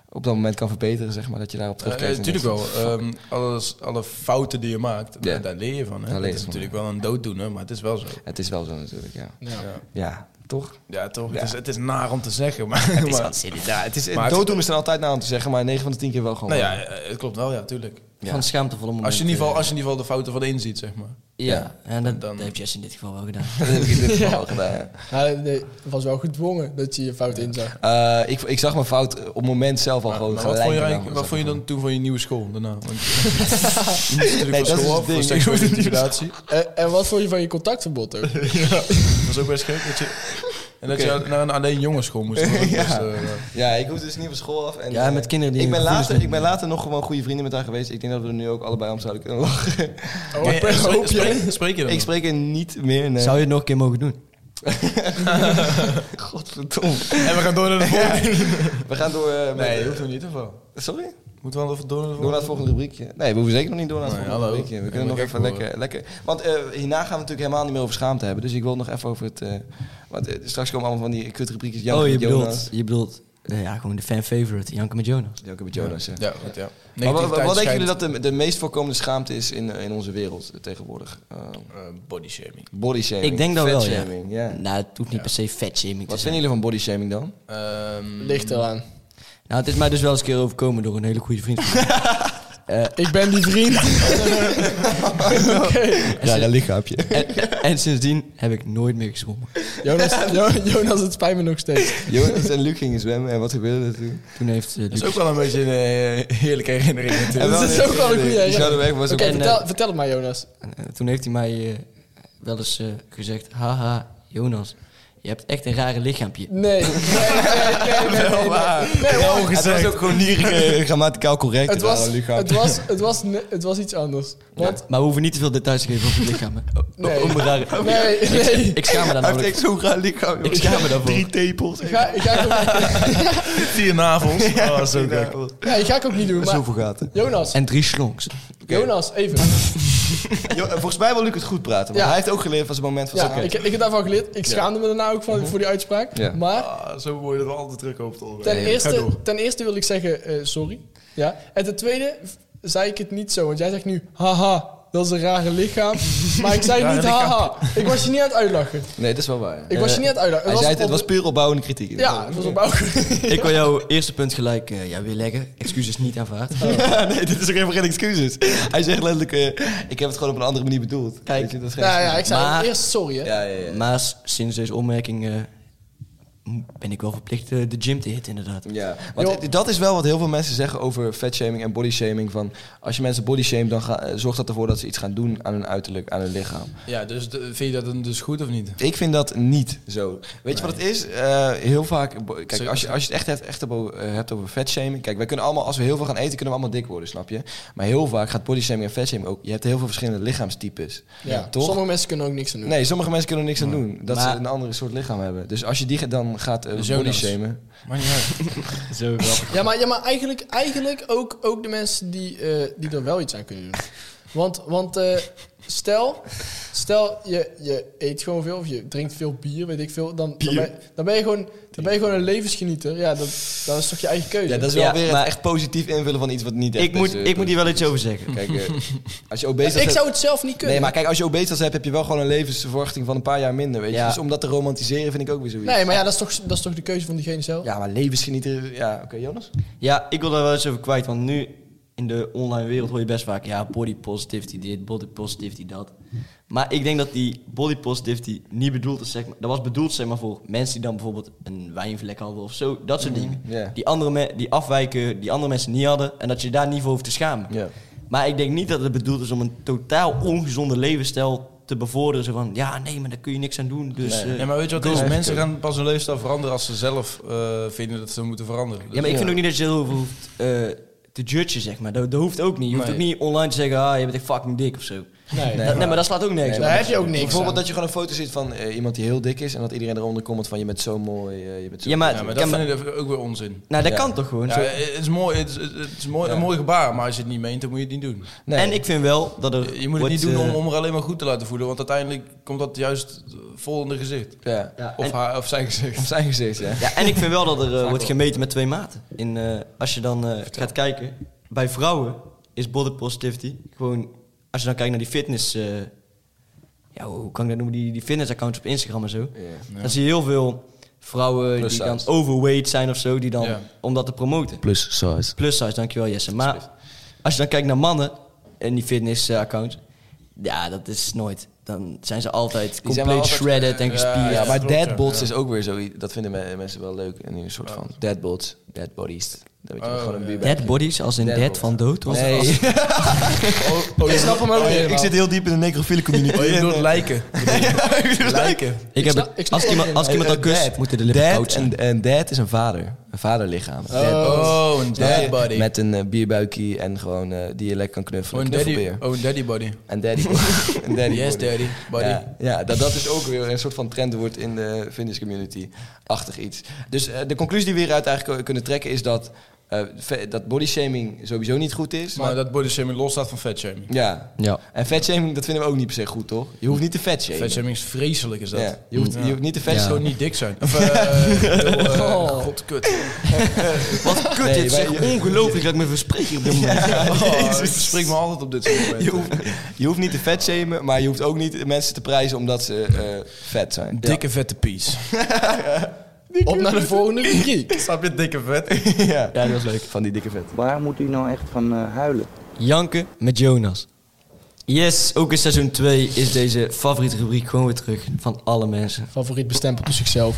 op dat moment kan verbeteren, zeg maar? Dat je daarop terugkijkt? en
Natuurlijk
denkt,
Eh, wel. Ehm, alles, alle fouten die je maakt,
Ja.
daar, daar leer je van. Hè?
Daar
Dat
leer
is
je van,
natuurlijk wel een dooddoener, maar het is wel zo.
Het is wel zo natuurlijk, ja.
Ja.
Ja,
Ja, toch?
Ja, toch?
Ja.
Het, is, het is naar om te zeggen, maar... Het is
Ja, het is,
Maar het-
dooddoen is er altijd na aan te zeggen, maar 9 van de 10 keer wel gewoon.
nou ja,
waar.
eh, het klopt wel, ja, tuurlijk.
Ja.
Van schaamtevolle momenten.
Als je, in ieder geval, als je in ieder geval de fouten van inziet, zeg maar.
Ja, en dat,
Dan-
dat heeft Jess in dit geval wel gedaan.
Dat heb ik in dit geval wel gedaan, ja.
Ja, eh, nee, het was wel goed gedwongen dat je je fout inzag.
Eh, ik, ik zag mijn fout eh, op het moment zelf al gewoon
Ah, Maar wat
gelijk.
vond je,
daarna
eigenlijk- wat
was dat
vond je dan toen van je nieuwe school daarna? Want je moest natuurlijk
Nee, dat is
van
het
school af,
ding.
voor seksuele
Ik moet-
intimidatie.
Eh, En, en wat vond je van je contactverbod ook?
Dat was ook best gek. Dat je, en dat je naar een alleen jongensschool moest. dat was,
Ja.
eh,
Ja, ik hoef dus niet van school af. En,
Ja,
eh,
met kinderen die
Ik ben,
hun gevoelens
later,
niet-
ik ben later nog gewoon goede vrienden met haar geweest. Ik denk dat we er nu ook allebei om zouden kunnen lachen.
Oh, ik
eh, spreek,
hoop je.
spreek- spreek je dan?
ik
nog?
spreek er niet meer. Nee.
Zou je het nog een keer mogen doen?
Godverdomme.
En we gaan door naar de volgende.
We gaan door. eh, met,
Nee,
eh,
dat hoeft niet, of wel?
sorry?
Moeten we wel even door naar de
Door naar
volgende?
het volgende rubriekje. Nee, we hoeven zeker nog niet door naar het
Nee,
volgende
hallo.
rubriekje. We
Ik
kunnen
ben
nog
gek
even
geworden.
lekker, lekker... Want eh, hierna gaan we natuurlijk helemaal niet meer over schaamte hebben. Dus ik wil nog even over het... eh, want eh, straks komen allemaal van die kutrubriekjes. Janke
oh, je
met
bedoelt,
Jonas.
je bedoelt eh, ja, gewoon de fan favorite, Janke met Jonas.
Janke met Jonas, ja.
Ja, goed, ja.
Maar wat, wat
Negativiteit
denken
schijnt,
jullie dat de, de meest voorkomende schaamte is in, eh, in onze wereld eh, tegenwoordig? Eh
eh, body shaming.
body shaming.
Ik denk dat wel, ja.
fatshaming, ja.
Nou, het hoeft niet per se fat shaming te
Wat
zijn.
vinden jullie van body shaming dan?
Ehm,
Ligt eraan.
Nou, het is mij dus wel eens een keer overkomen door een hele goede vriend. van mij.
Ik ben die vriend.
Ja, dat lichaampje.
en, en sindsdien heb ik nooit meer gezwommen.
Jonas, Jo- Jonas, het spijt me nog steeds.
Jonas en Luc gingen zwemmen en wat gebeurde er toen?
Toen heeft eh,
dat
Luc...
is ook wel een beetje een eh, heerlijke herinnering
En
natuurlijk.
Dat is ook wel een goeie,
Die
ja.
Zouderberg was
Oké,
ook een-
vertel, vertel het maar, Jonas.
en, eh, toen heeft hij mij eh, wel eens eh, gezegd... Haha, Jonas, je hebt echt een rare lichaampje.
Nee. Nee, nee, nee, nee, nee, nee. Nee, wacht.
Het was ook gewoon niet eh, grammaticaal correct.
Het was,
Ja, lichaam.
het, was, het, was, ne- het was iets anders. Want,
Maar we hoeven niet te veel details te geven over het lichaam. hè. O- o-
Nee.
om een
Oh,
rare-
nee, nee.
Ik schaam me
Hij heeft
daar namelijk
echt zo'n raar lichaam.
Ik schaam me daarvoor.
Drie tepels.
Ga, ga, ik ook,
Vier navels. Oh, zo gek.
nee, ga ik ook niet doen. Maar,
Zoveel gaten.
Jonas,
En drie slonks.
Jonas, even.
Jo, volgens mij wil Luc het goed praten. Want
Ja.
hij heeft ook geleerd van zijn moment van
Ja,
oké. Mhm.
ik, ik heb daarvan geleerd. Ik schaamde me daarna ook van, voor die uitspraak.
Ja.
Maar
Ah, zo word je er altijd druk over te horen.
ten,
Nee, ga door.
eerste, ten eerste wil ik zeggen, eh, sorry. Ja. En ten tweede v- zei ik het niet zo. Want jij zegt nu, haha, dat is een rare lichaam. maar ik zei niet,
lichaam.
haha. Ik was je niet aan het uitlachen.
Nee, dat is wel waar. Eh,
Ik was je niet aan het uitlachen.
Hij zei het, het was
op-
puur opbouwende kritiek.
Ja, het was opbouwen.
Ik wil jouw eerste punt gelijk eh, ja, weer leggen. Excuses niet aanvaard.
nee, dit is ook even geen excuses. Hij zegt letterlijk, eh, ik heb het gewoon op een andere manier bedoeld.
Kijk.
Weet je, dat is geen
Nou ja,
excuus.
ik zei
Maar-
eerst sorry, hè.
ja, ja, ja.
Maar s- sinds deze opmerking eh, m- ben ik wel verplicht eh, de gym te hitten, inderdaad.
Ja, want
Joh.
dat is wel wat heel veel mensen zeggen over fatshaming en bodyshaming. Van als je mensen bodyshamt, dan ga- eh, zorgt dat ervoor dat ze iets gaan doen aan hun uiterlijk, aan hun lichaam.
Ja, dus de- vind je dat dan dus goed of niet?
Ik vind dat niet zo. Weet je wat het is? Eh, heel vaak. bo- Kijk,
Zo-
als je, als je het echt, hebt- echt abo- eh, hebt over fatshaming. Kijk, wij kunnen allemaal, als we heel veel gaan eten, kunnen we allemaal dik worden, snap je? Maar heel vaak gaat bodyshaming en fatshaming ook. Je hebt heel veel verschillende lichaamstypes.
Ja,
toch?
Sommige mensen kunnen ook niks aan doen.
Nee, sommige mensen kunnen er niks aan doen. Dat
Maar-
ze een andere soort lichaam hebben. Dus als je die ge- dan gaat
Dus
uh,
Jonas.
bodyshamen.
Maar niet uit.
Zo grappig.
Ja, maar, ja, maar eigenlijk, eigenlijk ook, ook de mensen die, eh, die er wel iets aan kunnen doen. Want, want eh, stel, stel je, je eet gewoon veel of je drinkt veel bier, weet ik veel. Dan, dan, ben, dan, ben, je gewoon, dan ben je gewoon een levensgenieter. Ja, dat, dat is toch je eigen keuze.
Ja, dat is wel
wel Ja,
weer
weer het maar-
echt positief invullen van iets wat niet
Ik moet, ik moet hier wel iets over zeggen.
Kijk, eh, als je obesitas
ik
hebt-
zou het zelf niet kunnen.
Nee, maar kijk, als je obesitas hebt, heb je wel gewoon een levensverwachting van een paar jaar minder, weet je.
Ja.
Dus om dat te romantiseren vind ik ook weer zoiets.
Nee, maar ja, dat is toch, dat is toch de keuze van diegene
Oh.
zelf?
Ja, maar levensgenieter... Ja, oké, Jonas?
Ja, ik wil daar wel eens over kwijt, want nu in de online wereld hoor je best vaak... ja, body positivity dit, body positivity dat. Maar ik denk dat die body positivity niet bedoeld is, zeg maar... dat was bedoeld, zeg maar, voor mensen die dan bijvoorbeeld een wijnvlek hadden of zo. Dat soort dingen.
Mhm, ja.
Die, andere me- die afwijken, die andere mensen niet hadden... en dat je daar niet voor hoeft te schamen.
Ja.
Maar ik denk niet dat het bedoeld is om een totaal ongezonde levensstijl te bevorderen. Zo van, ja, nee, maar daar kun je niks aan doen. Dus, eh,
Ja, maar weet je wat het is? Mensen gaan pas hun leefstijl veranderen als ze zelf eh, vinden dat ze moeten veranderen.
Ja, maar ik vind ook niet dat je heel veel hoeft eh, te judgen, zeg maar. Dat, dat hoeft ook niet. Je hoeft
Nee.
ook niet online te zeggen, ah, je bent echt fucking dik of zo. Nee,
Nee.
dat, nee maar dat slaat ook nergens
Daar
op.
heb je ook niks
Bijvoorbeeld
aan.
dat je gewoon een foto ziet van eh, iemand die heel dik is en dat iedereen eronder komt van je bent zo mooi, eh, je bent zo...
Ja, maar,
Ja, maar
ja,
dat
maar-
vind ik ook weer onzin.
nou, dat
Ja.
kan toch gewoon?
Ja,
zo.
het is, mooi, het is, het is mooi, een mooi gebaar, maar als je het niet meent, dan moet je het niet doen.
Nee.
En ik vind wel dat er...
Je moet het
wordt,
niet doen om,
eh,
om er alleen maar goed te laten voelen, want uiteindelijk komt dat juist vol in de gezicht.
Ja.
Ja,
Of,
en-
haar, of zijn gezicht.
Op zijn gezicht, ja.
Ja, en ik vind wel dat er eh, wordt gemeten met twee maten. In, eh, als je dan eh, gaat kijken, bij vrouwen is body positivity gewoon... Als je dan kijkt naar die fitness... eh, ja, hoe kan ik dat noemen? Die, die fitness accounts op Instagram en zo. Dan zie je heel veel vrouwen
Plus
die dan
size.
overweight zijn of zo, die dan,
Ja.
om dat te promoten.
Plus size.
Plus size, dankjewel Jesse. Maar als je dan kijkt naar mannen en die fitness eh, accounts, ja, dat is nooit. Dan zijn ze altijd
wel
compleet
altijd,
shredded en
ja,
gespierd.
Ja,
Ja,
maar
klopt, ja.
deadbots is ook weer zoiets. Dat vinden me- mensen wel leuk. En een soort van deadbots, dead bodies. Dat weet je
Oh,
gewoon een
ja.
bier bij.
Dead bodies, als in
Dead
dead,
body.
van dood? was het?
Nee.
ik snap hem ook niet helemaal.
heel diep in de necrofiele community.
Oh, je bedoelt lijken.
lijken.
Ik heb
snap-
het-
ik snap
als ik
het
iemand,
niet.
als ik iemand al
eh,
kust, moeten de lippen koud zijn.
En, en dad is een vader. Een vaderlichaam.
Oh, een
Daddy.
dead body.
Met een eh, bierbuikie en gewoon eh, die je lekker kan
Oh,
knuffelen.
een daddy,
Knuffelbeer.
oh, een daddy body.
En daddy. en daddy
Yes,
body.
daddy body.
Ja, ja dat, dat is ook weer een soort van trend wordt in de fitness community. Achtig iets. Dus eh, de conclusie die we hieruit eigenlijk kunnen trekken is dat eh, ve- dat bodyshaming sowieso niet goed is.
Maar dat body shaming los staat van fat shaming.
Ja.
Ja.
En fatshaming, dat vinden we ook niet per se goed, toch? Je hoeft niet te fatshamen.
Fat shaming is vreselijk, is dat.
Ja, je, hoeft, je hoeft niet te
Het is
fatshamen.
gewoon niet dik zijn. Of, eh, heel, eh,
Oh.
God, kut.
Wat kut
Nee,
dit,
wij-
zeg. Ongelooflijk dat ik me verspreek op dit moment.
Oh, het spreekt me altijd op dit soort
Je
momenten.
hoeft, je hoeft niet te fatshamen, maar je hoeft ook niet mensen te prijzen omdat ze eh, vet zijn.
Dikke vette pies.
Op naar de volgende rubriek.
Snap je, dikke vet?
ja. ja, dat was leuk. Van die dikke vet.
Waar moet u nou echt van eh, huilen?
Janken met Jonas. Yes, ook in seizoen 2 is deze favoriete rubriek gewoon weer terug van alle mensen.
Favoriet bestempeld dus zichzelf.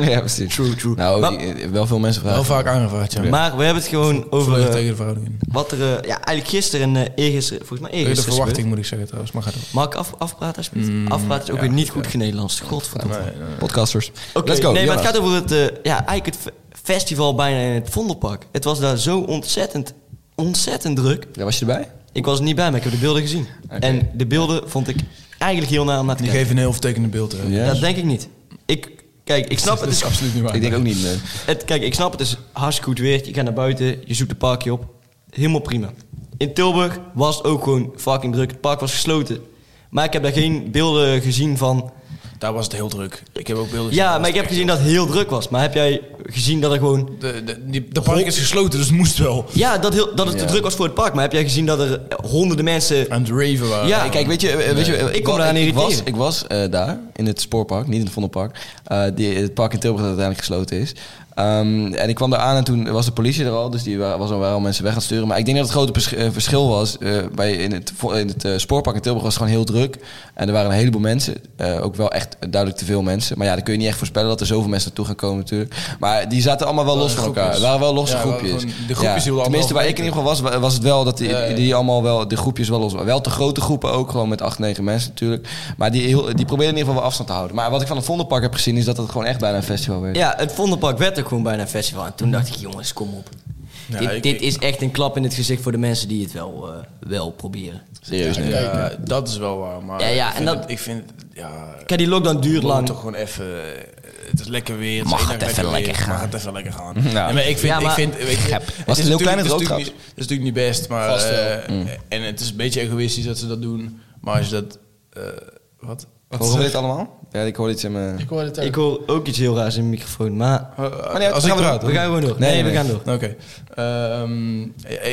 ja, precies. True, true. Nou,
Maar-
die- eh, wel veel mensen vragen.
Heel vaak aangevraagd, ja.
Maar we hebben het gewoon over
Volledig
eh,
tegen de verhouding in.
wat er eh, ja, eigenlijk gisteren en eh, eergisteren, volgens mij
Tegen de
eergisteren is
verwachting Mm,
gebeurd.
moet ik zeggen trouwens, maar ga door.
Mag ik af, afpraten alsjeblieft? afpraten is ook weer niet goed genederlands. Godverdomme.
Podcasters.
Oké,
Let's go.
nee, maar
Jonas.
het gaat over het, eh, ja, eigenlijk het fe- festival bijna in het Vondelpark. Het was daar zo ontzettend, ontzettend druk.
Ja, was je erbij?
Ik was er niet bij, maar ik heb de beelden gezien. En de beelden vond ik eigenlijk heel naar om naar te
Die
kijken.
geven een heel vertekende beeld. hè.
Ja.
Dat denk ik niet. Ik, kijk, ik snap
Dat
het.
is
Is,
absoluut niet waar.
Ik denk ook niet, nee.
het kijk, ik snap het. is hartstikke goed weer. Je gaat naar buiten, je zoekt een parkje op. Helemaal prima. In Tilburg was het ook gewoon fucking druk. Het park was gesloten. Maar ik heb daar geen beelden gezien van.
Daar was het heel druk. Ik heb ook beelden
Ja, maar ik heb gezien dat het heel druk was. Maar heb jij gezien dat er gewoon.
De, de, die- de park is gesloten, dus het moest wel.
Ja, dat, heel, dat het te druk was voor het park. Maar heb jij gezien dat er eh, honderden mensen.
Aan het raven waren.
Ja,
Ja, kijk, weet je, eh, weet je eh,
Ik kom daar aan
ik was,
irriteren.
ik was eh, daar in het spoorpark, niet in het Vondelpark. Eh, die, het park in Tilburg dat uiteindelijk gesloten is. Ehm, en ik kwam daar aan en toen was de politie er al, dus die wa- was al, waren al mensen weg aan het sturen. Maar ik denk dat het grote pers- eh, verschil was. eh, bij, in het, vo- in het eh, spoorpark in Tilburg was het gewoon heel druk. En er waren een heleboel mensen. eh, ook wel echt duidelijk te veel mensen. Maar ja, dan kun je niet echt voorspellen dat er zoveel mensen naartoe gaan komen natuurlijk. Maar die zaten allemaal wel los van elkaar.
groepjes.
Het waren wel losse
Ja,
groepjes.
gewoon- de groepjes hielden allemaal
Tenminste, waar
wel
ik in ieder geval was, wa- was het wel dat die,
Ja, ja.
die allemaal wel, de groepjes wel los waren. Wel te grote groepen ook, gewoon met acht, negen mensen natuurlijk. Maar die, heel, die probeerden in ieder geval wel afstand te houden. Maar wat ik van het Vondelpark heb gezien, is dat het gewoon echt bijna een festival werd.
Ja, het Vondelpark werd ook gewoon bijna een festival. En toen dacht ik, jongens, kom op.
Ja,
dit
ik-
dit
ik-
is echt een klap in het gezicht voor de mensen die het wel, eh, wel proberen.
Serieus, nee.
Ja, dat is wel waar. Maar
Ja, ja,
ik
en
vind,
dat-
het- ik vind het- ja,
Kijk, die lockdown duurt
we moeten
lang.
toch gewoon even... eh, Het is lekker weer.
Mag
is
het
één dag
even
weer,
lekker gaan.
Mag het even lekker gaan.
Ja.
Nee, maar ik vind...
Ja, maar-
ik vind weet je, het is
Was het een heel
natuurlijk-
kleine
het is
droogtrap?
natuurlijk niet- Het is natuurlijk niet best, maar...
Vast wel.
eh,
Mm.
En het is een beetje egoïstisch dat ze dat doen. Maar als je dat... eh, wat? Wat
Horen we
zeg-
dit allemaal? Ja, ik hoor iets in mijn...
Ik hoorde het ook.
Ik hoor ook iets heel raars in de microfoon, maar...
Eh, eh,
nee,
als
gaan
ik
we
praat,
We gaan gewoon door. Nee,
Nee,
we
nee.
gaan door.
Oké. Ehm,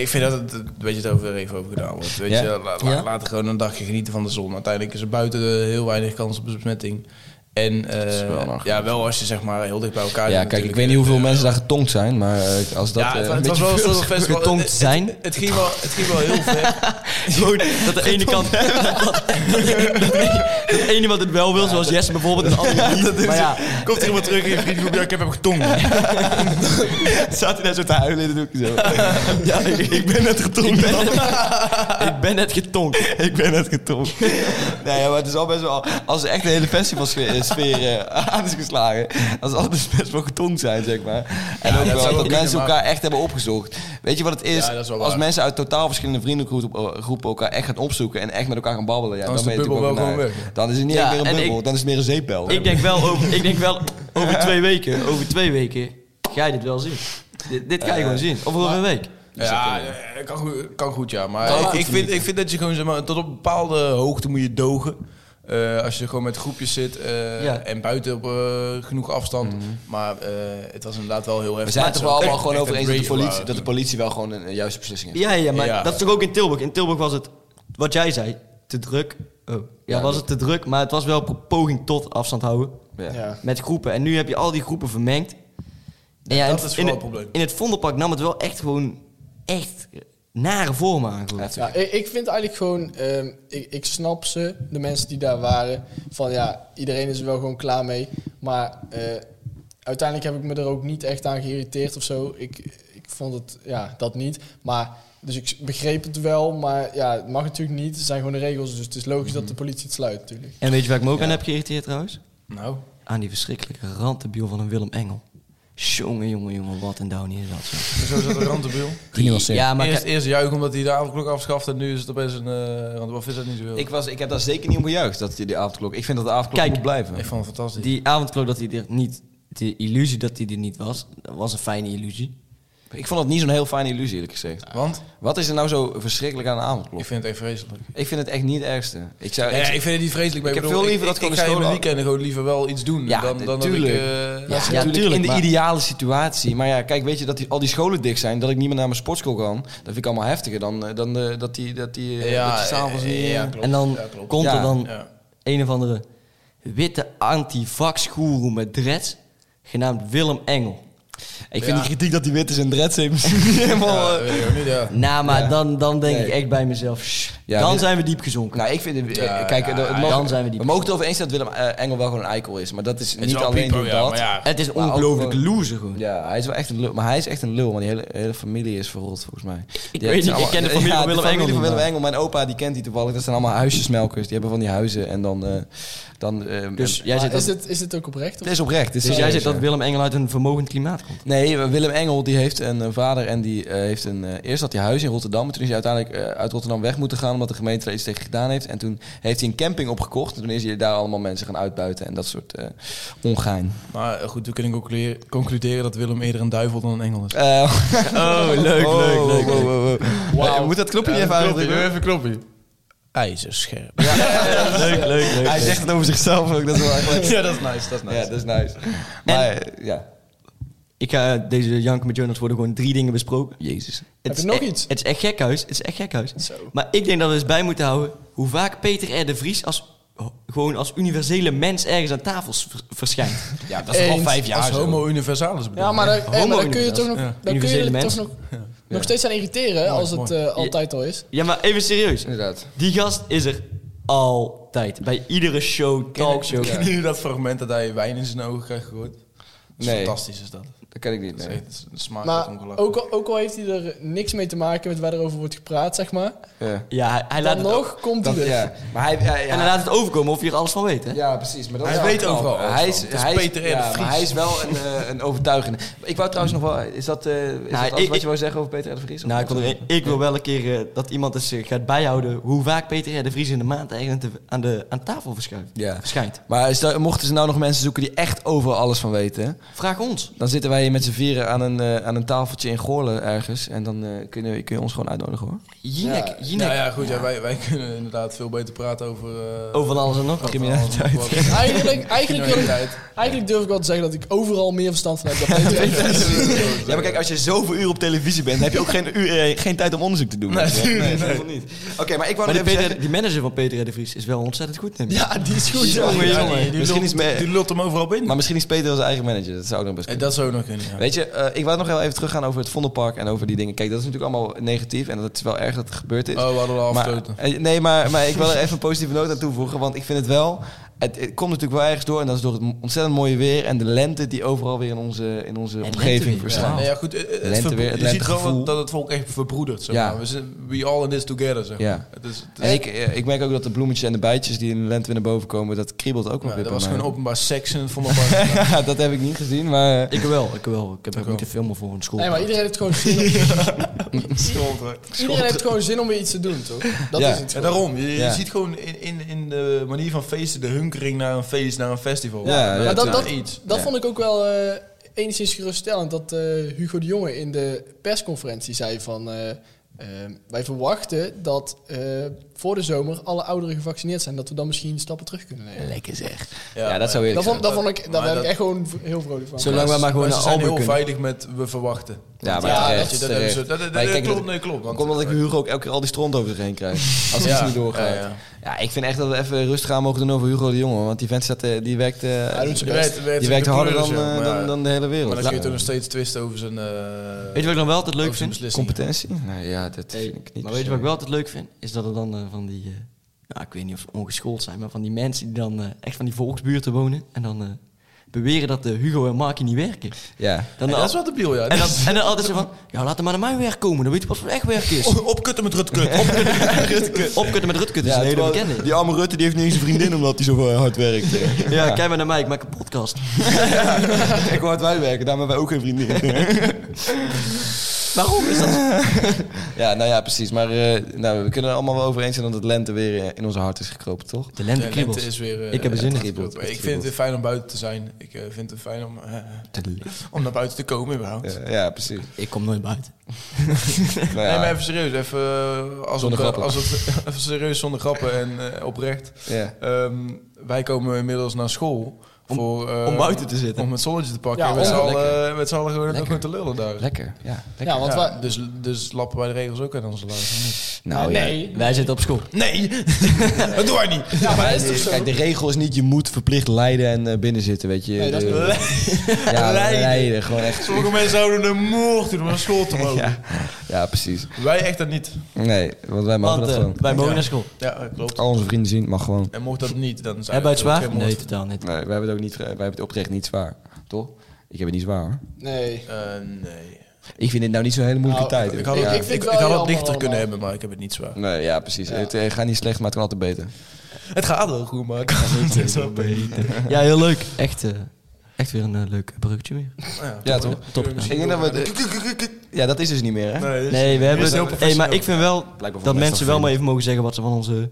ik vind dat het een beetje het over even over gedaan wordt. Weet
Ja.
je, la, la-
Ja.
laat er gewoon een dagje genieten van de zon. Uiteindelijk is er buiten eh, heel weinig kans op besmetting. En eh,
is wel een argument.
ja, wel als je zeg maar heel dicht bij elkaar zit
Ja, kijk, ik
natuurlijk.
weet niet hoeveel mensen daar getongd zijn, maar eh, als dat...
Ja,
eh,
het,
een
het was
beetje
wel
veel-
een festival.
Getongd
Het- het-
zijn.
Het, ging wel, het ging wel heel ver.
Gewoon dat de ene kant... dat, de ene wat het wel wil, zoals Jesse bijvoorbeeld, en de andere niet. Maar ja,
Komt er iemand terug in je vriendengroep? Ja, ik heb hem getongd.
zat hij daar zo te huilen in het zo. Ja, ik, ik ben net getonkt. Ik ben net getonkt. Ik ben net getonkt.
Nee, ja, maar het is al best wel... Als er echt een hele festivalsfeer eh, sfeer, eh, aan is geslagen... dan zal het dus best wel getongd zijn, zeg maar. En ook
dat zou
wel dat
wel kunnen,
mensen
maar-
elkaar echt hebben opgezocht. Weet je wat het is?
Ja, dat is wel
als
waar.
mensen uit totaal verschillende vriendengroepen eh, groepen elkaar echt gaan opzoeken... en echt met elkaar gaan babbelen... Ja, dan,
Dan is de
ben je
bubbel
natuurlijk
wel
ook
gewoon
naar-
weg.
Dan is het niet
Ja,
echt meer
en
een
ik-
bubbel, dan is het meer een zeepbel.
Ik denk wel over, ik denk wel over twee weken, over twee weken ga je dit wel zien. Dit, dit ga je gewoon zien. Of over een week.
Ja, eh, kan goed, kan goed ja. Maar
Kan
ik,
goed
ik vind, ik vind dat je gewoon zeg maar, tot op een bepaalde hoogte moet je dogen. Eh, als je gewoon met groepjes zit eh,
Ja.
en buiten op eh, genoeg afstand. Maar eh, het was inderdaad wel heel heftig.
Mhm. We zijn het
Zo,
toch wel allemaal
echt-
gewoon
echt
over
een
eens dat de,
rave
politie,
waren.
dat de politie wel gewoon een, een juiste beslissing heeft.
Ja, ja, maar
Ja.
dat is toch ook in Tilburg? In Tilburg was het, wat jij zei, te druk. Oh, ja,
Ja,
was
dat-
het te druk, maar het was wel een poging tot afstand houden
Ja.
ja.
met groepen. En nu heb je al die groepen vermengd. En ja,
dat
in-
is
in
vooral het probleem.
In het Vondelpark nam het wel echt gewoon, echt nare vormen aan. gewoon.
Heftig.
Ja, ik, ik vind eigenlijk gewoon, ehm, ik, ik snap ze, de mensen die daar waren, van ja, iedereen is er wel gewoon klaar mee. Maar eh, uiteindelijk heb ik me er ook niet echt aan geïrriteerd of zo. Ik, ik vond het, ja, dat niet. Maar, dus ik s- begreep het wel, maar ja, het mag natuurlijk niet. Het zijn gewoon de regels, dus het is logisch
Mhm.
dat de politie het sluit natuurlijk.
En weet je waar ik me ook aan heb geïrriteerd trouwens?
Nou,
Aan die verschrikkelijke randebiel van een Willem Engel. Jongen, jongen, jongen, wat een downie is dat. zeg.
zo zat de randebiel.
Ja, maar
eerst,
kijk,
eerst juichen omdat hij de avondklok afschaft en nu is het opeens een eh randebiel. Of is dat niet zo heel?
Ik, was, ik heb daar zeker niet om gejuicht, dat die, die avondklok... Ik vind dat de avondklok
Kijk,
moet blijven.
ik vond het fantastisch.
die avondklok dat hij er niet... De illusie dat hij er niet was, dat was een fijne illusie.
Ik vond dat niet zo'n heel fijne illusie, eerlijk gezegd.
Want?
Wat is er nou zo verschrikkelijk aan de
Ik
avondklok? Ik
vind het echt vreselijk.
vind, het echt niet het ergste. Ik zou,
Ja,
ik-
ik vind het niet vreselijk. maar
Ik heb
bedoel,
veel liever dat ik
ik, ik
gewoon
ga in
de
mijn
school-
weekenden gewoon liever wel iets doen.
Ja,
dan, dan
tuurlijk.
Dat ik, eh,
Ja,
dat-
natuurlijk
tuurlijk,
in de
maar-
ideale situatie. Maar ja, kijk, weet je dat die, al die scholen dik zijn, dat ik niet meer naar mijn sportschool kan. Dat vind ik allemaal heftiger dan, eh, dan eh, dat die, dat die, eh, dat die s'avonds
eh,
niet... eh,
ja, klopt.
en dan
Ja, klopt.
komt
Ja.
er dan
Ja.
een of andere witte anti-vax guru met dreads, genaamd Willem Engel.
Ik vind
Ja.
die kritiek dat die wit is en dreads heeft misschien niet helemaal...
Ja,
eh,
weet ik ook niet, ja.
Nou, maar dan, dan denk
Nee.
ik echt bij mezelf, shh,
Ja,
dan
dit-
zijn we diep gezonken.
Nou, ik vind... het- eh,
Ja,
kijk,
ja,
eh, het
ja,
mag-
dan zijn we die
we mogen het erover eens zijn dat Willem eh, Engel wel gewoon een eikel is. Maar dat is
Het is
niet
wel
alleen
pipo,
door
ja,
dat.
maar
Ja,
ja.
het is
maar ook
ongelooflijk
gewoon-
loser gewoon.
hij is wel echt een lul. Maar hij is echt een lul, want die hele, hele familie is verrot volgens mij. Ik
weet niet, ik ken de familie van Willem Engel
familie
niet,
van Willem
maar-
Engel, mijn opa, die kent die toevallig. Dat zijn allemaal huisjesmelkers. Die hebben van die huizen en dan... eh, dan eh,
Dus
en-
jij zit
Maar is,
dat,
dit, is dit ook oprecht? Of?
Het is oprecht. Dit is
dus jij
serieus,
zegt dat
ja.
Willem Engel uit een vermogend klimaat komt.
Nee, Willem Engel die heeft een eh, vader en die eh, heeft een... eh, eerst had hij huis in Rotterdam. En toen is hij uiteindelijk eh, uit Rotterdam weg moeten gaan... omdat de gemeente er iets tegen gedaan heeft. En toen heeft hij een camping opgekocht. En toen is hij daar allemaal mensen gaan uitbuiten en dat soort eh, ongein.
Maar eh, goed, we kunnen concluderen, concluderen dat Willem eerder een duivel dan een engel is.
Eh,
Oh, leuk,
oh, wow, wow, wow.
Wauw.
Eh, Moet dat knopje even
Doe
uitdrukken?
even knopje. IJzerscherp.
leuk, leuk, leuk.
Hij zegt het over zichzelf ook. Dat is wel eigenlijk...
Ja, dat is nice. Dat is nice.
Ja, dat is nice. Maar eh, ja...
Ik ga deze Janken met Jonas worden gewoon drie dingen besproken. Jezus.
Heb
Het
je
is
nog
e-
iets?
Het is echt gekhuis. Het is echt gekhuis. Maar ik denk dat we eens bij moeten houden hoe vaak Peter R. de Vries als, gewoon als universele mens ergens aan tafels vers- verschijnt.
Ja, dat
is al Eens. vijf
Als homo universalis bedoel
Ja, maar daar, eh, maar daar kun je
Homo-universum.
toch nog,
Ja.
daar kun je
Universele
er toch
mens.
nog, nog steeds aan irriteren hè, als het eh, altijd al is.
Ja, maar even serieus.
Inderdaad.
Die gast is er altijd. Bij iedere show, talkshow.
Kennen jullie dat fragment dat hij wijn in zijn ogen krijgt gegooid? Dat is
Nee.
Fantastisch is dat.
Dat ken ik niet.
Dat
nee.
is echt een smaak
Maar
ongelooflijk.
ook al, ook al heeft hij er niks mee te maken met waar er over wordt gepraat, zeg maar.
Ja.
Ja, hij, hij laat
Dan
het o-
nog komt hij dus.
Dat,
er.
ja. Maar hij, ja, ja.
En hij laat het overkomen of je er alles van weet, hè?
Ja, precies. Maar dat
Hij
is wel
weet
knap.
overal alles
Hij is,
van. Het is
hij
Peter R. de
ja, maar
Vries.
hij is wel een, eh, een overtuigende. Ik wou trouwens nog wel... Is dat, eh,
Nou,
is dat alles
ik-
wat je wou zeggen over Peter R. de Vries? Of
Nou, ik,
niet?
wil, er- ik wil wel een keer eh, dat iemand eens eh, gaat bijhouden hoe vaak Peter R. de Vries in de maand eigenlijk aan, de- aan, de, aan tafel verschijnt.
Ja.
verschijnt.
Maar is dat- mochten ze nou nog mensen zoeken die echt over alles van weten... hè?
Vraag ons.
dan zitten wij hier met z'n vieren aan een, eh, aan een tafeltje in Goorlen ergens... en dan eh, kun, je, kun je ons gewoon uitnodigen, hoor.
Jinek,
Ja,
Jinek.
Nou ja, goed. Ja, wij, wij kunnen inderdaad veel beter praten over... eh,
Over van alles en nog wat.
criminaliteit.
Eigenlijk, eigenlijk, wil ik,
Criminaliteit.
eigenlijk durf ik wel te zeggen dat ik overal meer verstand van heb dan Peter.
Ja, maar kijk, als je zoveel uur op televisie bent... heb je ook geen, eh, geen tijd om onderzoek te doen.
Natuurlijk niet.
Oké, maar ik wou
Maar die,
nog even
Peter-
zeggen...
die manager van Peter R. de Vries is wel ontzettend goed, neem ik.
ja, die is goed.
Jongen,
Ja,
jongen.
die- die
Misschien
lult-
is me-
Die lult hem overal binnen.
Maar misschien is Peter wel zijn eigen manager. Dat zou ook nog best kunnen.
Dat zou nog kunnen, ja.
Weet je, eh, ik wou nog heel even teruggaan over het Vondelpark en over die dingen. Kijk, dat is natuurlijk allemaal negatief en dat is wel erg dat het gebeurd is.
Oh, we hadden al
maar,
afgestoten.
eh, nee, maar, maar ik wil er even een positieve noot aan toevoegen, want ik vind het wel... Het, het komt natuurlijk wel ergens door en dat is door het ontzettend mooie weer en de lente die overal weer in onze, in onze omgeving
lenteweer,
verschijnt.
Nee, ja, goed. eh, eh, Het
Lente
verbro-
weer, het
je ziet
lentegevoel.
gewoon dat het volk echt verbroedert. Zeg
Ja.
maar. we, zijn- we all in this together, zeg maar.
Ja.
Het is, het is-
En ik, eh, ik merk ook dat de bloemetjes en de bijtjes die in de lente weer naar boven komen, dat kriebelt ook nog
nou,
weer
dat
bij
was
mij.
gewoon openbaar seks in het Vondelpark.
ja, dat heb ik niet gezien, maar... eh,
Ik wel, ik wel. Ik heb ook niet te filmen voor een school.
Nee, maar iedereen heeft gewoon zin om, iedereen heeft gewoon zin om weer iets te doen, toch? Dat
Ja.
is het
Ja,
gewoon.
daarom. Je, je
Ja.
ziet gewoon in, in, in de manier van feesten de hunkering naar een feest, naar een festival.
Ja, ja,
Maar dat, dat,
iets.
dat
Ja.
vond ik ook wel eh, enigszins geruststellend. Dat eh, Hugo de Jonge in de persconferentie zei van... eh, eh, wij verwachten dat eh, voor de zomer alle ouderen gevaccineerd zijn. Dat we dan misschien stappen terug kunnen nemen.
Lekker zeg. Ja, dat zou eerlijk
Dat vond,
zijn.
dat vond ik, daar
Maar
ben ik
dat-
echt gewoon v- heel vrolijk van.
Zolang we maar gewoon
ze
naar
zijn
Almen
heel
kunnen.
veilig met we verwachten.
Ja, maar
Ja,
terecht,
weet
je, dat hebben ze-
terecht.
dat- dat-
Maar ik
dat
kijk
klopt, nee, klopt, want-
Komt omdat ik Hugo ook elke keer al die stront over zich heen krijg. Als het
Ja,
niet doorgaat. Ja,
ja, ja.
ik vind echt dat we even rustig aan mogen doen over Hugo de Jonge. Want die vent staat, eh, die werkt, eh,
doet
die
zijn
werkt,
Werkt-
best.
werkt
werkt
in de
harder dan,
kleuren,
eh,
zeg maar.
dan, dan de hele wereld.
Maar dan kun je
Ja.
toch nog steeds twisten over zijn... eh,
Weet je wat ik dan wel altijd leuk
over zijn
vind?
beslissingen.
Competentie? Nee, ja, dat vind ik niet.
Maar weet
per
je wat
se.
ik wel altijd leuk vind? Is dat er dan eh, van die... eh, nou, ik weet niet of ze ongeschoold zijn, maar van die mensen die dan eh, echt van die volksbuurten wonen. En dan eh, beweren dat de Hugo en Markie niet werken.
Ja.
Dan
Ja,
al-
dat is wel debiel, ja.
en, dan, en dan altijd zo van, ja, laat hem maar naar mijn werk komen. Dan weet je pas wat echt werk is.
Op- Opkutten met Rutkut. Opkutten
Opkutten met Rutke, dat is een hele
terwijl
bekende.
die arme Rutte die heeft niet eens een vriendin omdat hij zo eh, hard werkt. eh.
Ja, kijk maar naar mij, ik maak een podcast.
Kijk hoe hard wij werken, daarom hebben wij ook geen vriendin.
Waarom is dat zo?
Ja, nou ja, precies. Maar eh, nou, we kunnen er allemaal wel over eens zijn dat het lente weer eh, in onze hart is gekropen, toch?
De
De
lente
lente
kriebelt.
is weer... eh,
Ik heb er zin in.
eh,
Kriebelt,
Ik vind
kriebelt.
het fijn om buiten te zijn. Ik eh, vind het fijn om, eh, om naar buiten te komen überhaupt.
Ja, Eh, ja, precies.
Ik kom nooit buiten.
Nou ja,
Nee, maar even serieus. Even, eh, als
Zonder
het,
grappen.
Als het, even serieus zonder grappen en eh, oprecht.
ja.
Ehm, wij komen inmiddels naar school.
Om-
voor, eh,
om buiten te zitten.
Om het zonnetje te pakken.
Ja,
en met z'n
om-
allen, eh, met z'n allen gewoon,
Lekker.
gewoon te lullen daar.
Lekker, ja.
Ja, want
Ja,
wij...
dus, dus lappen wij de regels ook uit onze lijst. of niet?
Nou ja.
nee.
Wij zitten op school.
Nee, dat doen wij niet. Ja, maar is
Kijk, de regel is niet je moet verplicht lijden en eh, binnen zitten, weet je.
Nee, dat is
De- ja,
Leiden.
lijden. gewoon echt.
Sommige mensen houden de moord doen om naar school te mogen.
Ja. ja, precies.
Wij echt dat niet.
Nee, want wij mogen
Want
dat
eh,
gewoon.
wij mogen
Ja.
naar school.
Ja, dat klopt.
Al onze vrienden zien, mag gewoon.
En mocht dat niet, dan zijn
Hebben wij het
we ook
zwaar?
geen moord.
Nee, totaal niet.
Nee, wij hebben het ook niet, wij hebben het oprecht niet zwaar, toch? Ik heb het niet zwaar, hoor.
Nee.
Eh, nee.
Ik vind dit nou niet zo'n hele moeilijke
Nou,
tijd.
Ik had,
Ik-
het-
ik
ik, ik,
vind wel
had het
jammer
lichter
allemaal.
kunnen hebben, maar ik heb het niet zwaar.
Nee, ja, precies.
Ja.
Het eh, gaat niet slecht, maar het kan altijd beter.
Het gaat wel goed, maar ik kan het niet zo beter.
Ja, heel leuk. Echt, eh, echt weer een eh, leuk bruggetje weer.
Ja, toch?
Top.
Ik denk dat we de- Ja, dat is dus niet meer, hè?
Nee, dus-
Nee, we
Dit
hebben
is heel
het, hey, maar ik vind wel
Blijkbaar voor
dat
de rest
mensen
wel
wel maar even mogen zeggen wat ze van onze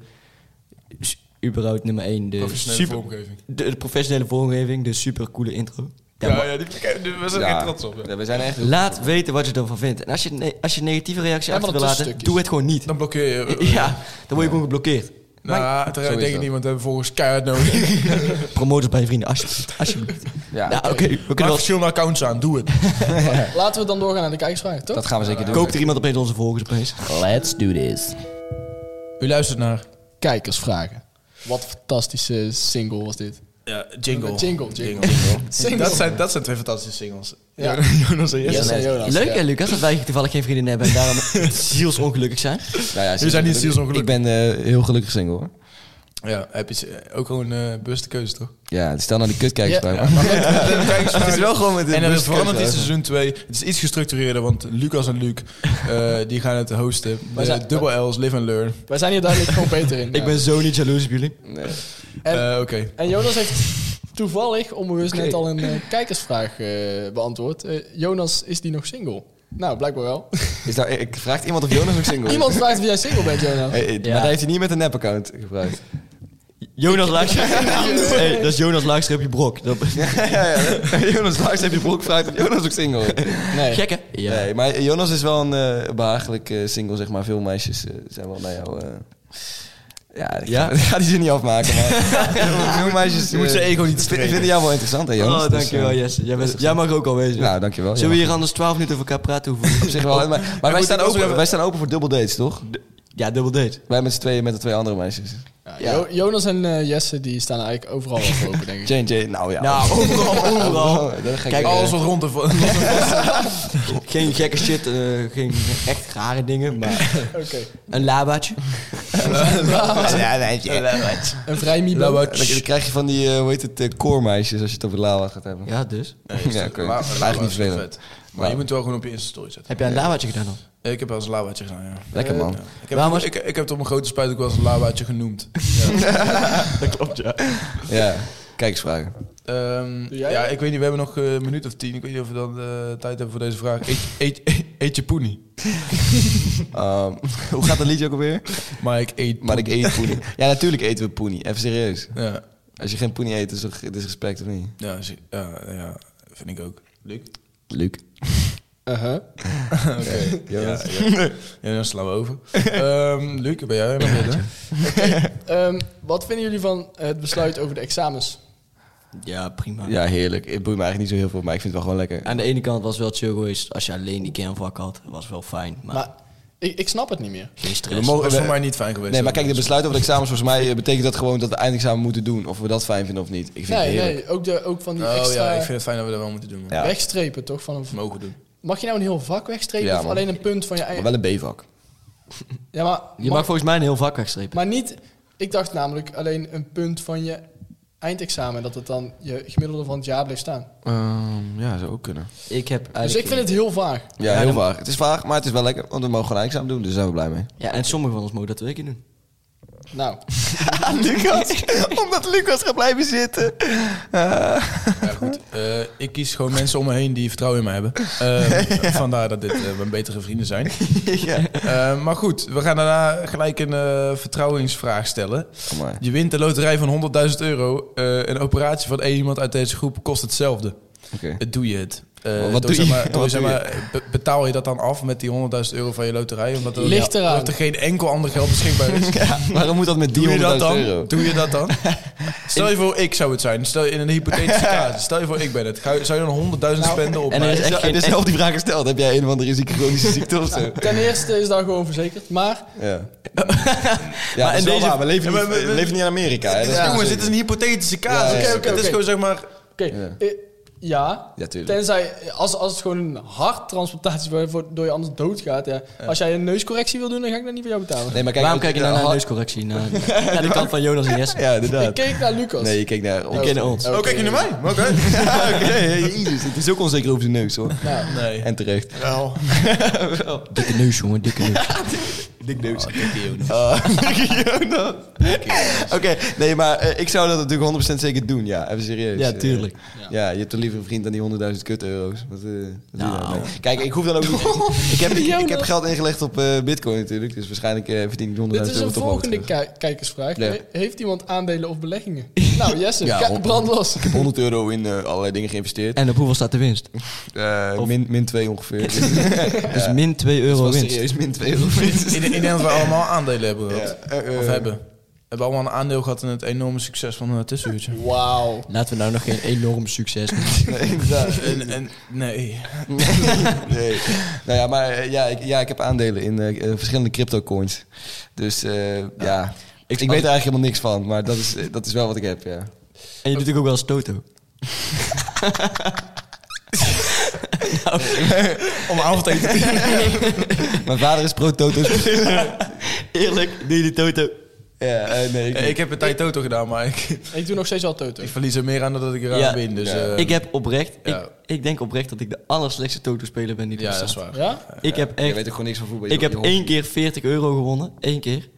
s- überhaupt nummer 1 de
Professionele
super
vormgeving.
de, de professionele vormgeving, de super coole intro. Ja,
Ja,
maar
ja, die, die- we zijn
Ja.
echt trots op. ja.
Ja, we zijn echt...
Laat weten wat je ervan vindt. En als je, ne- als je een negatieve reactie
Ja, maar
achter wil laten,
dat tussenstukjes.
doe het gewoon niet.
Dan blokkeer je. eh, eh,
Ja, dan word je gewoon geblokkeerd.
Nou,
Zo
terwijl
is
ik denk ik
dat.
niet, want we hebben volgens keihard nodig.
Promoters bij je vrienden, alsjeblieft. alsjeblieft.
Ja,
nou, oké, we
Maak
kunnen wel...
verschillende accounts aan, doe het.
Laten we dan doorgaan naar de kijkersvraag, toch?
dat gaan we zeker doen.
Koopt er iemand opeens onze volgers opeens? Let's do this.
U luistert naar
Kijkersvragen. Wat een fantastische single was dit.
ja, Jingle.
Jingle, jingle. Single.
Dat, zijn, dat zijn twee fantastische singles.
Ja.
Jonas en Jesse.
Yes, en Jonas.
Leuk
ja.
hè, Lucas, dat wij toevallig geen vrienden hebben en daarom zielsongelukkig zijn.
Nou ja,
We zijn niet zielsongelukkig.
Ik ben eh, heel gelukkig single, hoor.
Ja, heb je ze- ook gewoon eh bewuste keuze, toch?
Ja, stel nou die kutkijkers
Ja.
bij me.
het is wel gewoon met
een
En dat is
bewuste
veranderd
keuze.
in seizoen 2. Het is iets gestructureerder, want Lucas en Luc eh, die gaan het hosten.
Maar
De
zijn-
Double L's, Live and Learn.
Wij zijn hier duidelijk gewoon beter in.
Ik ben zo niet jaloers op jullie.
Nee.
En-
Eh, Oké.
En Jonas heeft toevallig onbewust net al een eh, kijkersvraag eh, beantwoord. Eh, Jonas, is die nog single? Nou, blijkbaar wel.
Is daar, ik vraag iemand of Jonas ook single is.
Iemand vraagt of jij single bent, Jonas.
Hey, hey,
Ja.
Maar dat heeft hij niet met een app-account gebruikt.
Jonas Laagstreepje... hey, dat is Jonas Laagstreepje Brok. Dat...
ja, ja, ja. Jonas, laatst heb je broek gevraagd of Jonas ook single is.
Nee.
Gek hè? Ja.
Nee, maar Jonas is wel een eh, behagelijk eh, single, zeg maar. Veel meisjes eh, zijn wel naar jou... eh, Ja, ik
Ja?
Ga, ik ga die zin niet afmaken, maar... veel meisjes...
Je moet
eh,
zijn ego niet
vind-
strelen.
Vinden jou wel interessant, hè, Jonas?
Oh,
Dus,
dankjewel
eh,
Jesse. Jij, bent- jij mag ook al wezen.
Nou, dankjewel.
Zullen we
ja.
hier anders 12 minuten over elkaar praten? Hoeveel...
Op zich wel, maar, maar wij,
moet
staan
ik ook
open,
even-
wij staan open voor dubbel dates, toch?
Ja, dubbel date.
Wij met z'n tweeën met de twee andere meisjes.
Ja, Jo- Jonas en eh, Jesse die staan eigenlijk overal wel voor open, denk ik.
Jane, Jane, nou ja.
Nou, overal, overal.
Oh, dat ga ik
Kijk,
eh,
Alles wat rond de
Geen gekke shit, eh, geen echt rare dingen, maar
Oké.
een labaatje.
eh,
Een vrij mibo.
dan, dan krijg je van die, eh, hoe heet het, eh, koormeisjes als je het over Lala gaat hebben.
Ja, dus.
Ja, oké. Eigenlijk niet vervelend.
Maar je moet wel gewoon op je Insta-story zetten.
Heb jij een labaatje gedaan dan?
Ik heb wel eens een lawaatje gedaan, ja.
Lekker man.
Ja. Ik, heb,
Waarom was-
ik, ik heb het op mijn grote spuit ook wel eens een lawaatje genoemd.
Ja, kijkersvragen.
Ehm,
Doe jij
ja,
dat?
ik weet niet, we hebben nog eh, een minuut of tien. Ik weet niet of we dan eh, tijd hebben voor deze vraag. Eet, eet, eet je poenie?
Ehm, hoe gaat dat liedje ook alweer?
Maar ik eet
Maar ik
poenie.
eet poenie. Ja, natuurlijk eten we poenie. Even serieus.
Ja,
Als je geen poenie eet, is het disrespect of niet?
ja, zie- ja, ja, vind ik ook. Leuk.
Luc.
Uh-huh.
Oké.
Jonas.
Ja, ja. Ja, dan slaan we over. Ehm Luc, ben jij nog dit, hè?
Ehm, wat vinden jullie van het besluit over de examens?
Ja, prima.
Ja, heerlijk. Het boeit me eigenlijk niet zo heel veel, maar ik vind het wel gewoon lekker.
Aan de ene kant was het wel chill geweest als je alleen die kernvak had. was wel fijn, maar,
Maar ik, ik snap het niet meer.
geen stress.
We mogen-
Dat is voor
we-
mij niet fijn geweest.
Nee, maar kijk, de besluit over de examens, volgens mij eh, betekent dat gewoon dat we eindexamen moeten doen. Of we dat fijn vinden of niet. Ik vind het
Nee,
heerlijk.
nee. Ook, de, ook van die
Oh
extra
ja, ik vind het fijn dat we dat wel moeten doen. man.
Ja.
wegstrepen, toch? Van een,
Mogen doen.
mag je nou een heel vak wegstrepen
Ja,
of
man.
alleen een punt van je eigen...
Maar wel een B-vak.
ja, maar,
Je mag volgens mij een heel vak wegstrepen.
maar niet... Ik dacht namelijk alleen een punt van je eindexamen. Dat het dan je gemiddelde van het jaar bleef staan.
Ehm, ja, zou ook kunnen.
Ik heb eigenlijk...
Dus ik vind het heel vaag.
Ja,
Ja,
heel
dan-
vaag. Het is vaag, maar het is wel lekker. Want we mogen gewoon eindexamen doen, dus daar zijn we blij mee.
Ja, en sommigen van ons mogen dat twee keer doen.
Nou,
Lucas, omdat Lucas gaat blijven zitten.
Ja, goed. Eh, ik kies gewoon mensen om me heen die vertrouwen in me hebben. Ehm, Vandaar dat dit eh, mijn betere vrienden zijn. Eh, maar goed, we gaan daarna gelijk een eh, vertrouwensvraag stellen.
Amai.
Je wint de loterij van 100.000 euro. Eh, een operatie van één iemand uit deze groep kost hetzelfde.
Oké.
Eh, Doe je het? Eh,
Wat
door,
doe je?
zeg maar-
Wat
door,
doe
zeg
je?
maar, be- betaal je dat dan af met die 100.000 euro van je loterij? Omdat er,
Ligt eraan.
omdat er geen enkel ander geld beschikbaar is.
Waarom moet dat met die
Doe je dat
100.000
dan?
euro?
Doe je dat dan? Stel je voor, ik zou het zijn. Stel je in een hypothetische casus. Stel je voor, ik ben het. Ga- Zou je dan 100.000 spenden op
en er
mij?
is echt
Ja,
geen...
het is zelf die vraag gesteld. Heb jij een of andere zieke chronische ziekte of zo?
Ten eerste is daar gewoon verzekerd. Maar
Ja. ja, maar,
en
en
deze-
deze... maar we leven
Ja,
niet,
maar we-
we leven niet in Amerika. Hè? Dat is
Ja,
wel
Jongens,
zeker.
dit is een hypothetische casus.
Ja, ja, ja.
Het
Oké,
is
oké,
gewoon zeg maar...
oké,
Ja.
eh, ja.
Ja, tuurlijk.
Tenzij, als, als het gewoon een harttransplantatie is waardoor je anders doodgaat. Ja. Als jij een neuscorrectie wil doen, dan ga ik dat niet voor jou betalen.
Nee, maar kijk,
Waarom
het- eh,
kijk je nou naar een
had-
neuscorrectie? Naar, naar de kant van Jonas en Jesse.
Ja,
Ik
inderdaad.
keek naar Lucas.
Nee, je keek naar...
Die kennen ons.
Oh, kijk je naar mij? Oké.
Ja, Oké, jezus. Het is ook onzeker over zijn neus, hoor.
Nee.
En terecht.
Wel.
Dikke neus, jongen, dikke neus.
Dik neus. Ah, dikke Jonas. Oké, nee, maar eh, ik zou dat natuurlijk 100% zeker doen. Ja, even serieus.
Ja,
Eh,
tuurlijk.
Ja, je hebt toch liever een vriend dan die 100.000 kut euro's. Wat, eh, wat doe je
Nou.
daarmee? Kijk, ik hoef dan ook niet... ik, heb, ik, ik heb
Jonas.
geld ingelegd op eh, bitcoin natuurlijk. Dus waarschijnlijk eh, verdien ik die 100.000 euro
Dit is een
toch wel
volgende
terug.
ki- kijkersvraag.
Ja.
He- Heeft iemand aandelen of beleggingen? Nou, Jesse,
Ja,
ka-
hond-
brand los.
Ik heb 100 euro in eh, allerlei dingen geïnvesteerd.
En op hoeveel staat de winst?
Eh, min, min 2 ongeveer. Dus
Dus min 2
dat
euro
was
winst.
serieus min 2 euro winst.
Ik, ik denk dat we allemaal aandelen hebben gehad.
Ja, eh, eh.
Of hebben. We hebben allemaal een aandeel gehad in het enorme succes van het tussenuurtje.
Wauw.
Laten we nou nog geen enorm succes.
Nee, inderdaad.
En, en, nee.
Nee. Nou ja, maar eh, ja, ik, ja, ik heb aandelen in eh, eh, verschillende cryptocoins. Dus eh, ja. Ik, ik weet er eigenlijk helemaal niks van, maar dat is, eh, dat is wel wat ik heb, ja.
En je doet natuurlijk ook wel eens toto.
Om avond eten te
Mijn vader is pro-toto's.
Eerlijk, doe je die toto.
ja, eh, nee, ik,
Ik heb een tijd Toto gedaan, maar ik,
Ik doe nog steeds al toto.
ik verlies er meer aan dan dat ik eraan
Ja.
win. Dus,
Ja.
eh,
ik heb oprecht,
ja.
ik, ik denk oprecht dat ik de allerslechtste toto-speler ben die er
ja, dat
bestaat.
is waar.
Ja?
Ik heb
je
echt,
weet ook gewoon niks van voetbal. je-
ik heb
je hoort-
één keer 40 euro gewonnen. één keer.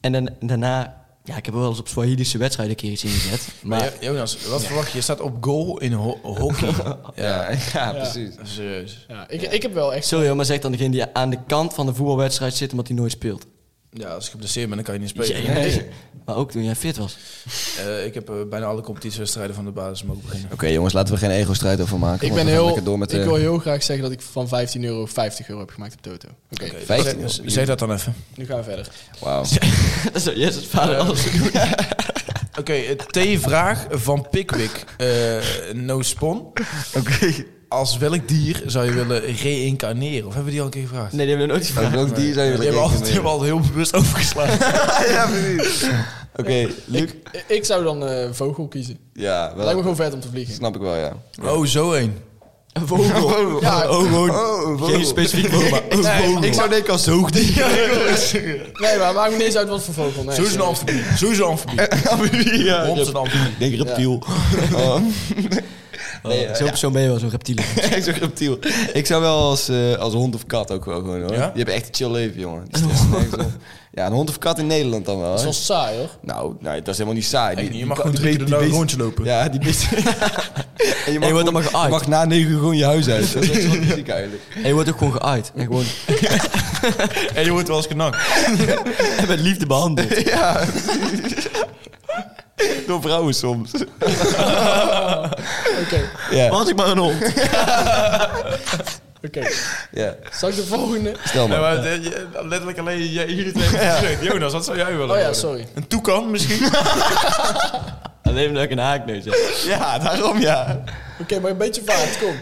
En dan, daarna, ja, ik heb wel eens op Swahilische wedstrijden een keer iets ingezet.
Maar
Maar
Jo- Jonas, wat verwacht je? Je staat op goal in ho- hockey.
Ja, ja, precies.
Serieus.
ja ik, ik heb wel echt...
sorry hoor, maar zeg dan degene die aan de kant van de voetbalwedstrijd zit omdat hij nooit speelt.
Ja, als ik geblesseerd ben, dan kan je niet spelen.
Jee, Maar ook toen jij fit was.
Eh, ik heb eh, bijna alle competitiewedstrijden van de basis mogen beginnen.
Oké jongens, laten we geen ego-strijd over maken.
Ik,
want
ben
we gaan
heel,
lekker door met
ik
eh,
wil heel graag zeggen dat ik van 15 euro 50 euro heb gemaakt op Toto. Oké,
vijftien.
Z- Zeg dat dan even.
nu gaan we verder.
Wauw.
dat zou Jezus vader alles doen.
Oké, eh, T-vraag van Pickwick. Eh, no spon. Oké. Als welk dier zou je willen reïncarneren? Of hebben we die al een keer gevraagd?
Nee, die hebben we nooit gevraagd.
Welk dier zou je
Die hebben
willen
we al- die hebben we al heel bewust overgeslagen.
Ja, precies. Oké, Luc.
Ik, ik zou dan eh, een vogel kiezen.
Ja, wel.
Lijkt me gewoon vet om te vliegen.
Snap ik wel, ja.
Oh, zo één.
Een vogel.
Ja,
Oh, gewoon.
Oh,
Geen specifiek vogel, maar een vogel.
ik zou denken als zoogdier.
Nee, maar maakt me niet eens uit wat voor vogel. Nee,
Zo is een
sorry.
amfibie. Zo is een amfibie.
ja,
Hond is een amfibie.
Ik denk reptiel. Oh. Nee,
Oh, Zo'n persoon ben je wel, zo'n reptiele.
echt zo'n reptiel. Ik zou wel als, eh, als hond of kat ook wel gewoon hoor.
Ja?
Je hebt echt een chill leven, jongen. Die stressen nergens op. ja, een hond of kat in Nederland dan wel.
Dat
hè?
is wel saai, hoor.
Nou, nee, dat is helemaal niet saai. Die-
niet. Je
die
mag
ka-
gewoon
die
drie keer
beest-
door
die
een
beest-
rondje lopen.
Ja, die beest. en je mag,
wordt
gewoon-
allemaal geaaid.
je mag na negen uur gewoon je huis uit. Dat is wel zo ziek eigenlijk.
En je wordt ook gewoon geuit. En gewoon
En je wordt wel eens genakt.
en met liefde behandeld.
Ja. Door vrouwen soms.
Oké,
Ja,
Was ik maar een hond.
oké.
ja.
Zal ik de volgende?
Stel maar.
maar de- je- letterlijk alleen jij- jullie twee hebben het gezegd. Jonas, wat zou jij willen
Oh ja,
worden?
sorry.
Een toekan misschien?
Alleen omdat ik een haakneus heb.
Ja, daarom ja.
Oké, maar een beetje vaart, kom.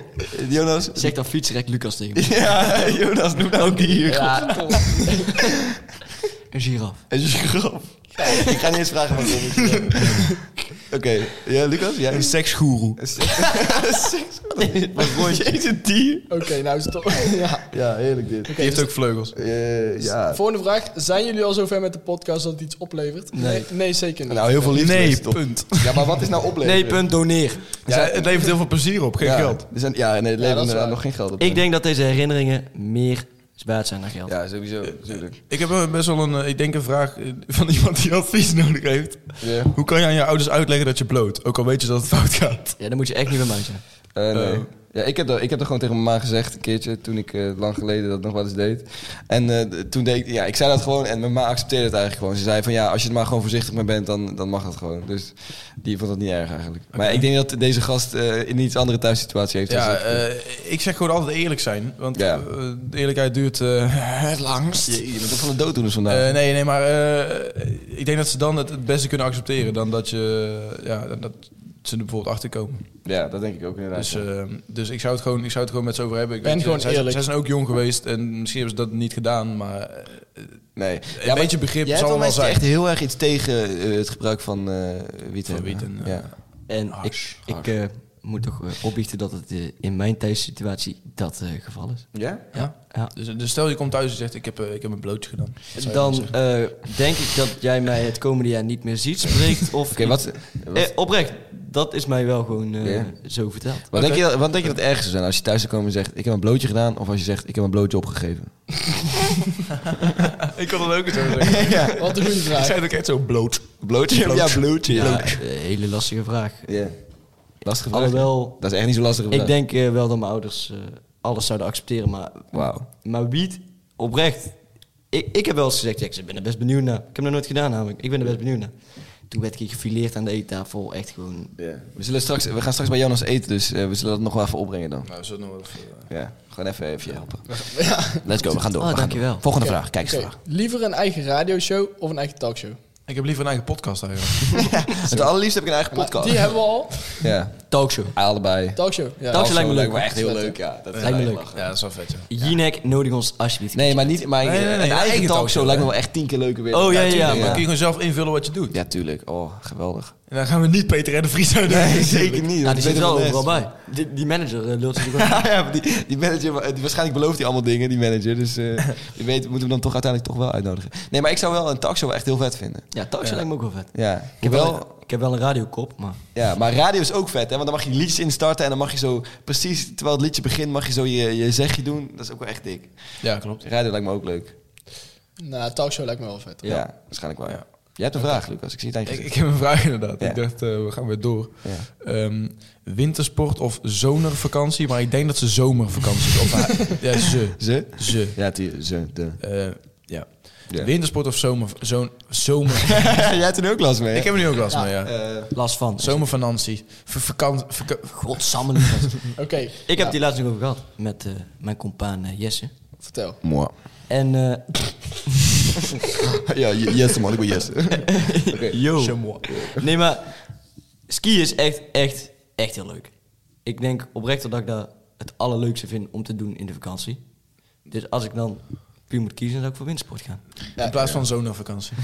Jonas.
Zeg dan fietsrek Lucas tegen me.
Ja, Jonas, noem nou ook die hier.
Ja,
Een giraf.
Het is een grap. Ik ga niet eens vragen wat het is. Oké, ja, Lucas, jij
Een seksgoeroe.
Wat mooi.
een dier.
Oké, nou is het toch... Ja.
Ja, heerlijk dit.
Die heeft ook vleugels.
Eh, ja.
Volgende vraag. Zijn jullie al zover met de podcast dat het iets oplevert? Nee. Nee, zeker niet.
Nou, heel veel liefde.
Nee,
mensen, toch?
punt.
Ja, maar wat is nou opleveren?
Nee, eh, punt, doneer.
Ja, het levert heel veel plezier op, geen
Ja,
geld.
Er zijn, ja, nee, het levert
dat is
inderdaad
waar.
nog geen geld op.
Ik denk dat deze herinneringen meer Spaat zijn naar geld.
Ja, sowieso. Natuurlijk.
Ik heb wel best wel een, eh, ik denk een vraag eh, van iemand die advies nodig heeft. Hoe kan je aan je ouders uitleggen dat je bloot? Ook al weet je dat het fout gaat.
Ja, dan moet je echt niet bij mij zijn.
Eh, nee.
Eh.
Ja, ik heb, dat, ik heb dat gewoon tegen mijn ma gezegd een keertje toen ik eh, lang geleden dat nog wel eens deed. En eh, d- toen deed ik, ja, ik zei dat gewoon en mijn ma accepteerde het eigenlijk gewoon. Ze zei van ja, als je er maar gewoon voorzichtig mee bent, dan, dan mag dat gewoon. Dus die vond dat niet erg eigenlijk. Maar ik denk dat deze gast eh, in een iets andere thuissituatie heeft.
Ja,
gezeten.
eh, ik zeg gewoon altijd eerlijk zijn. Want
Ja.
eh, de eerlijkheid duurt eh, het langst.
je, je bent toch van de dooddoeners
Eh,
vandaag.
nee, nee, maar eh, ik denk dat ze dan het, het beste kunnen accepteren. Dan dat, je, ja, dat ze er bijvoorbeeld achter komen.
ja, dat denk ik ook inderdaad.
Dus, eh, dus ik, zou het gewoon, ik zou het gewoon met ze over hebben. Ik
Ben
weet,
gewoon
zij,
eerlijk.
Zij zijn ook jong geweest en misschien hebben ze dat niet gedaan. Maar eh,
nee.
een beetje begrip
jij
zal
hebt
er wel
mensen
zijn.
die echt heel erg iets tegen eh, het gebruik van eh wiet
Van
hebben.
wiet en, eh,
ja.
En
Hars,
ik, ik eh, moet toch eh, opbiechten dat het eh, in mijn thuissituatie dat eh, geval is.
ja?
Ja.
Ja.
Dus, dus stel je komt thuis en zegt ik heb, eh, ik heb een blootje gedaan. Wat zou je
Dan
zeggen?
eh, denk ik dat jij mij het komende jaar niet meer ziet, spreekt of...
Oké, wat, wat,
Eh, oprecht, dat is mij wel gewoon eh,
Ja.
zo verteld.
wat, denk je, dat- wat denk je dat het ergste zou zijn? Als je thuis zou komen en zegt, ik heb een blootje gedaan. Of als je zegt, ik heb een blootje opgegeven.
ik kan dat ook eens zo zeggen.
Wat een goede
Ik
vraag.
zei het ook echt zo bloot.
Blootje? Ja, blootje.
Ja,
Ja.
eh, hele lastige vraag.
Ja. Lastige vraag.
Alhoewel,
Dat is echt niet zo lastig.
ik denk eh, wel dat mijn ouders eh, alles zouden accepteren, maar,
Wauw.
maar wiet, oprecht. Ik, ik heb wel eens gezegd, ja, ik ben er best benieuwd naar. Ik heb dat nooit gedaan namelijk, ik ben er best benieuwd naar. Toen werd ik gefileerd aan de eettafel, echt gewoon...
We, zullen straks, we gaan straks bij Jonas eten, dus eh, we zullen dat nog wel even opbrengen dan.
Nou, is dat nog wel even, eh,
Ja, gewoon even, even je helpen. Let's go, we gaan door.
Oh,
we gaan
dankjewel.
Door. Volgende
Oké,
vraag, kijk eens
oké.
vraag.
Liever een eigen radioshow of een eigen talkshow?
Ik heb liever een eigen podcast eigenlijk.
Het allerliefst heb ik een eigen
Maar
podcast.
Die hebben we al.
Ja,
Talkshow.
allebei.
Talkshow. Ja.
Talkshow. lijkt me leuk.
maar echt heel leuk, ja. Dat
Lijkt me
echt
leuk.
lachen.
ja, dat is wel vet, ja.
Jinek, nodig ons alsjeblieft.
Nee, maar niet, maar
Nee, nee, nee,
een
een
eigen,
eigen
talkshow
talkshow,
lijkt me wel echt tien keer leuker weer.
Oh, ja, ja, ja,
Maar
tuurlijk,
kun je gewoon zelf invullen wat je doet.
Ja, tuurlijk. Oh, geweldig.
En dan gaan we niet Peter en de Vries uit.
niet.
Nou, die zit er wel
overal
overal bij. Die, die manager eh, lult natuurlijk ook.
ja, maar die, die manager, eh, die- waarschijnlijk belooft hij allemaal dingen, die manager. Dus eh je weet, moeten we hem dan toch uiteindelijk toch wel uitnodigen. Nee, maar ik zou wel een talkshow echt heel vet vinden.
Ja, talkshow lijkt me ook wel vet.
Ja,
Ik heb, wel,
hoewel-
ik heb wel een radiokop, maar...
ja, maar radio is ook vet, hè? Want dan mag je liedjes instarten en dan mag je zo, precies terwijl het liedje begint, mag je zo je, je zegje doen. Dat is ook wel echt dik.
Ja, klopt.
Radio lijkt me ook leuk.
Nou, talkshow lijkt me wel vet.
Ja,
Ja.
waarschijnlijk wel.
Ja.
Jij hebt een vraag, Lucas. Ik zie het aan je
Ik,
gezicht.
ik heb een vraag inderdaad.
Ja.
Ik dacht, eh, we gaan weer door.
Ja.
Ehm, wintersport of zomervakantie? Maar ik denk dat ze zomervakantie... of, ah, ja, ze.
Ze?
Ze.
Ja, die, ze, de.
Eh, ja.
Ja.
Wintersport of zomer... Zo'n zomer...
Jij hebt er nu ook last mee, hè?
ik heb er nu ook last mee, ja.
Eh,
Last van.
Zomervakantie. Ver- vakant- vaka-
Godsamme. liefst.
Oké.
ik
Ja,
heb die laatst nog over gehad met eh, mijn compaan eh, Jesse.
Vertel.
moi.
En eh,
ja, je- yes man, ik ben yes.
Yo.
Oh.
Chamois.
Nee, maar skiën is echt, echt, echt heel leuk. Ik denk oprecht dat ik dat het allerleukste vind om te doen in de vakantie. Dus als ik dan puur moet kiezen, dan zou ik voor windsport gaan.
In plaats van zomervakantie.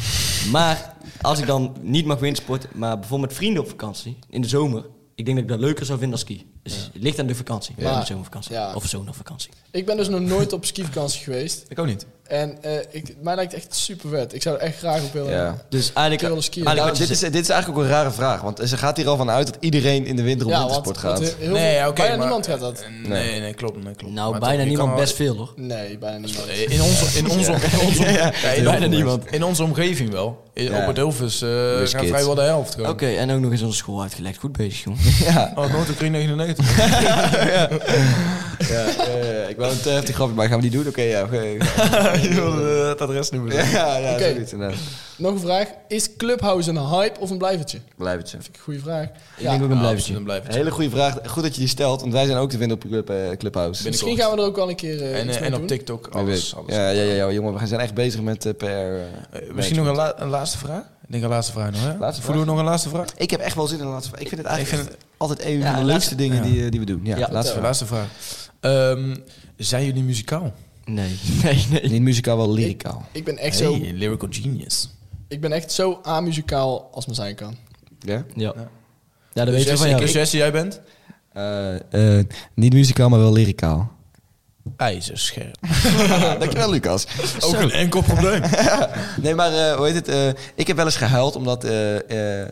Maar als ik dan niet mag windsporten, maar bijvoorbeeld met vrienden op vakantie in de zomer, ik denk dat ik dat leuker zou vinden dan ski. Dus het ligt aan de vakantie,
Ja.
de zomervakantie
Ja.
of zomervakantie.
Ik ben dus nog nooit op skivakantie geweest.
Ik ook niet.
En eh, ik, mij lijkt het echt super vet. Ik zou er echt graag op willen.
Ja.
Dus
Ik wil
eigenlijk,
wel skiën.
eigenlijk
Nou,
wat je
dit, is,
zegt.
dit is eigenlijk ook een rare vraag, want ze gaat hier al van uit dat iedereen in de winter op
Ja, want-
wintersport
want
gaat.
heel- heel
nee,
veel-
oké.
bijna
maar- Eh,
niemand gaat dat.
Nee, nee, klopt. Nee, klopt.
nou
Maar
bijna
toch, je kan
niemand
wel-
best veel hoor.
Nee, bijna niemand.
In onze, in onze, in onze, Ja, in
Bijna
onze-
niemand.
In onze omgeving wel. In,
Ja.
Op het Hilvers eh,
Dus
gaan
kids.
vrijwel de helft.
Oké,
gewoon.
en ook nog eens onze school uitgelegd. Goed bezig, jongen.
Ja.
Oh, Noord-Oekraïne 99.
Ja, eh, ik wou een te heftig grapje, maar gaan we die doen? Oké, ja. oké. eh,
Je wilde het adres niet meer zeggen.
ja, ja,
Oké.
zoiets inderdaad.
Nog een vraag. Is Clubhouse een hype of een blijvertje?
Blijf het zo.
Goeie vraag.
Ik denk ook een
Ja,
blijvertje.
dan blijft het.
Hele goede vraag. Goed dat je die stelt, want wij zijn ook te vinden op Club, eh, Clubhouse.
Binnen-
Misschien gaan we er ook wel een keer eh,
En,
iets
eh,
mee
en
doen.
op TikTok,
Wie weet.
alles. alles.
Ja, ja, ja, ja, jongen, we zijn echt bezig met eh, PR. eh,
Eh, misschien nog
management.
een, la- een laatste vraag? Ik denk een laatste vraag nog, hè?
Laatste
Voelen we nog een laatste vraag?
Ik heb echt wel zin in de laatste vraag. Ik vind het eigenlijk
Ik vind
echt altijd een
Ja,
van de
laatste-
leukste dingen
ja.
die, eh, die we doen. Ja,
Ja,
laatste
De
vraag.
laatste vraag. Ehm, zijn jullie muzikaal?
Nee, nee, nee.
Niet muzikaal, wel lyricaal.
Ik ben echt zo...
Hey, lyrical genius.
Ik ben echt zo amuzikaal als me zijn kan.
Ja?
Ja.
Ja.
Ja, dat
Dus
weet je van jou.
Jesse, Jesse, jij bent?
Eh, eh, niet muzikaal, maar wel lyricaal.
IJzerscherp.
Dankjewel, Lucas.
Ook een enkel probleem.
Nee, maar eh, hoe heet het? eh, ik heb wel eens gehuild omdat. eh, eh,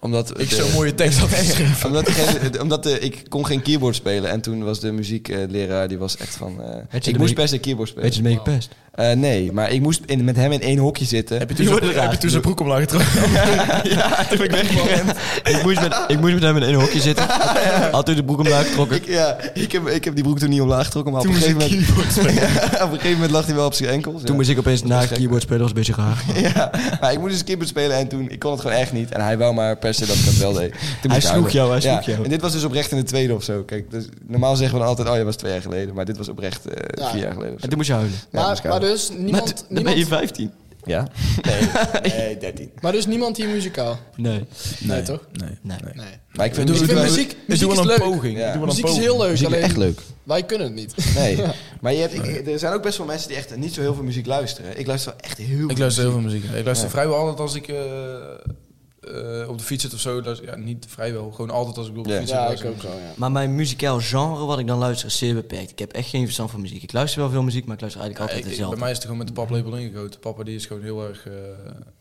Omdat
Ik
de-
zo'n mooie tekst had geschreven.
omdat degene- omdat eh, ik kon geen keyboard spelen. En toen was de muziekleraar, die was echt van... eh,
de
ik moest
muziek-
best een keyboard spelen.
Weet je, mee gepest.
Eh, nee, maar ik moest in, met hem in één hokje zitten.
Heb je toen zijn- heb je toen zijn broek omlaag getrokken?
ik, moest met, ik moest met hem in één hokje zitten. Had toen de broek omlaag getrokken.
Ik, ja, ik heb, ik heb die broek toen niet omlaag getrokken, maar op een, gegeven moment, op een gegeven moment lag hij wel op zijn enkels.
Toen
ja.
moest ik opeens na
was gek.
keyboard spelen, was een beetje raar.
Ja, maar ik moest eens keyboard spelen en toen, ik kon het gewoon echt niet. En hij wou maar per se dat ik dat wel deed. Toen moest ik
sloeg
huilen.
jou, hij sloeg
Ja,
jou.
En dit was dus oprecht in de tweede of zo. Kijk, dus normaal zeggen we dan altijd, oh ja, was twee jaar geleden. Maar dit was oprecht eh,
Ja.
vier jaar geleden. of zo.
En toen moest je huilen.
Ja,
Maar,
moest ik
maar
huilen.
dus niemand,
Dan ben je
niemand,
15.
Ja? Nee, dertien.
maar dus niemand hier muzikaal.
Nee.
Nee, toch?
Nee.
nee.
Nee.
Maar ik vind
Ik
muziek
vind
wel-
muziek,
Dus
muziek
doe
is
wel een
leuk.
poging.
Ja.
Doe wel een
Muziek is heel
poging.
leuk,
muziek
alleen
echt leuk.
wij kunnen het niet.
Nee, maar je hebt, ik- er zijn ook best wel mensen die echt niet zo heel veel muziek luisteren. Ik luister wel echt heel
Ik
veel
luister heel veel muziek. Ik luister vrijwel altijd als ik eh, eh, op de fiets zit of zo. Luister, ja, niet vrijwel, gewoon altijd als ik op de
Ja.
fiets zit.
Ja, ik
luister
ook wel, ja.
Maar mijn muzikaal genre wat ik dan luister is zeer beperkt. Ik heb echt geen verstand van muziek. Ik luister wel veel muziek, maar ik luister eigenlijk
ik,
altijd
ik- bij
hetzelfde.
mij is het gewoon met de paplepel ingegoten. Papa die is gewoon heel erg eh,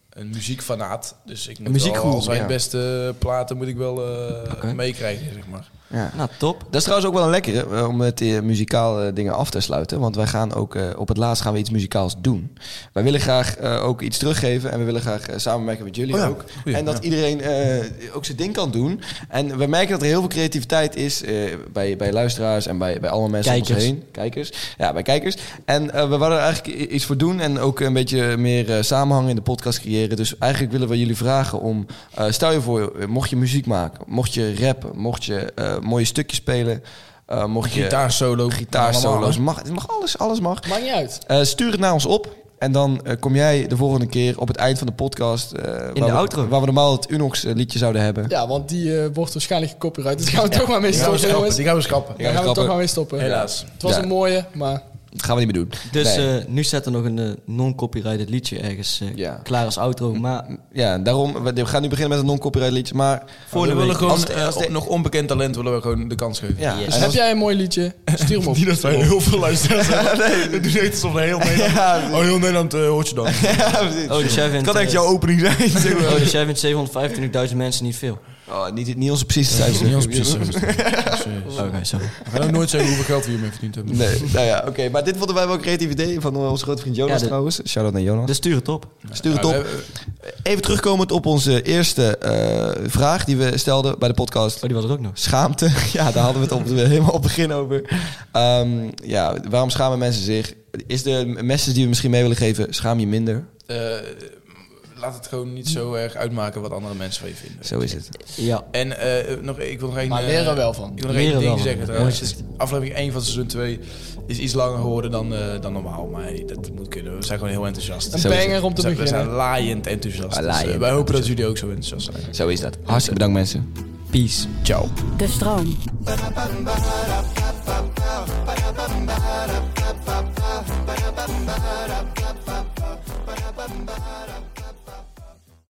een muziekfanaat. Dus ik moet
muziekgoeroe,
wel al zijn
ja.
beste platen moet ik wel eh,
Oké.
meekrijgen, zeg maar.
Ja.
Nou, top.
Dat is trouwens ook wel een lekkere eh, om met die muzikale dingen af te sluiten. Want wij gaan ook eh, op het laatst gaan we iets muzikaals doen. Wij willen graag eh, ook iets teruggeven en we willen graag eh, samenwerken met jullie
Oh ja,
ook.
goeie,
en dat
ja.
iedereen eh, ook zijn ding kan doen. En we merken dat er heel veel creativiteit is eh, bij, bij luisteraars en bij, bij allemaal mensen om ons
Kijkers.
heen. Kijkers. Ja, bij kijkers. En eh, we wilden er eigenlijk i- iets voor doen en ook een beetje meer eh, samenhang in de podcast creëren. Dus eigenlijk willen we jullie vragen om, eh, stel je voor, eh, mocht je muziek maken, mocht je rappen, mocht je eh, mooie stukjes spelen, eh, mocht je
Gitaarsolo.
gitaarsolo's, mag, het mag alles, alles mag.
Maakt niet uit.
Eh, stuur het naar ons op. En dan eh, kom jij de volgende keer op het eind van de podcast. eh,
de
waar,
outro.
We, waar we normaal het Unox eh, liedje zouden hebben.
Ja, want die eh, wordt waarschijnlijk gecopyright. Dus gaan we toch maar mee
Die gaan we
stoppen,
schrappen.
jongens.
Die gaan we schrappen.
Daar gaan we toch
schrappen.
maar mee stoppen.
Helaas.
Het was
Ja.
een mooie, maar...
Dat gaan we niet meer doen.
Dus
Nee.
eh, nu staat er nog een eh, non-copyrighted liedje ergens eh,
Ja.
klaar als outro. Maar
ja, daarom, we, we gaan nu beginnen met een non-copyright liedje. Maar
we
volgende
willen
week.
gewoon
Als de-
eh,
als de-
op nog onbekend talent willen we gewoon de kans geven.
ja,
Yes.
en
Dus Heb
als-
jij een mooi liedje? Stuur hem op.
dat wij heel veel luisteraars nee. We doen echt alsof heel Nederland... oh, heel Nederland eh, hoort je dan.
Oh, dus jij
het
vindt,
kan echt
eh,
jouw opening zijn.
Oh, dus jij vindt 725.000 mensen niet veel.
Oh, niet, niet onze precieze cijfers.
Niet ons precies. Sorry.
Oké, sorry.
We gaan ook nooit zeggen hoeveel geld we hiermee verdiend hebben.
Nee, nou ja, oké. Maar dit vonden wij wel een creatief idee van eh, onze grote vriend Jonas
Ja, dit-
trouwens. Shout-out naar Jonas.
Dus stuur het op.
Stuur het op. Even terugkomend op onze eerste eh, vraag die we stelden bij de podcast.
Oh, die was er ook nog.
Schaamte. Ja, daar hadden we het op, helemaal op het begin over. Ehm, ja, waarom schamen mensen zich? Is de message die we misschien mee willen geven, schaam je minder?
Eh, laat het gewoon niet zo erg uitmaken wat andere mensen van je vinden.
Zo is het.
Ja.
En eh, nog, ik wil nog één...
Maar
eh,
leren wel van.
Ik wil nog één
Leren wel
ding
van.
zeggen trouwens.
Mooi.
Aflevering 1 van seizoen 2 is iets langer geworden dan, eh, dan normaal. Maar hey, dat moet kunnen. We zijn gewoon heel enthousiast.
Een
Zo is het.
banger om
we,
te
zijn, we zijn
beginnen.
laaiend enthousiast. Dus, eh,
Laaiend
wij hopen dat jullie ook zo enthousiast zijn.
Zo is dat. Hartstikke bedankt mensen.
Peace.
Ciao.
De stroom.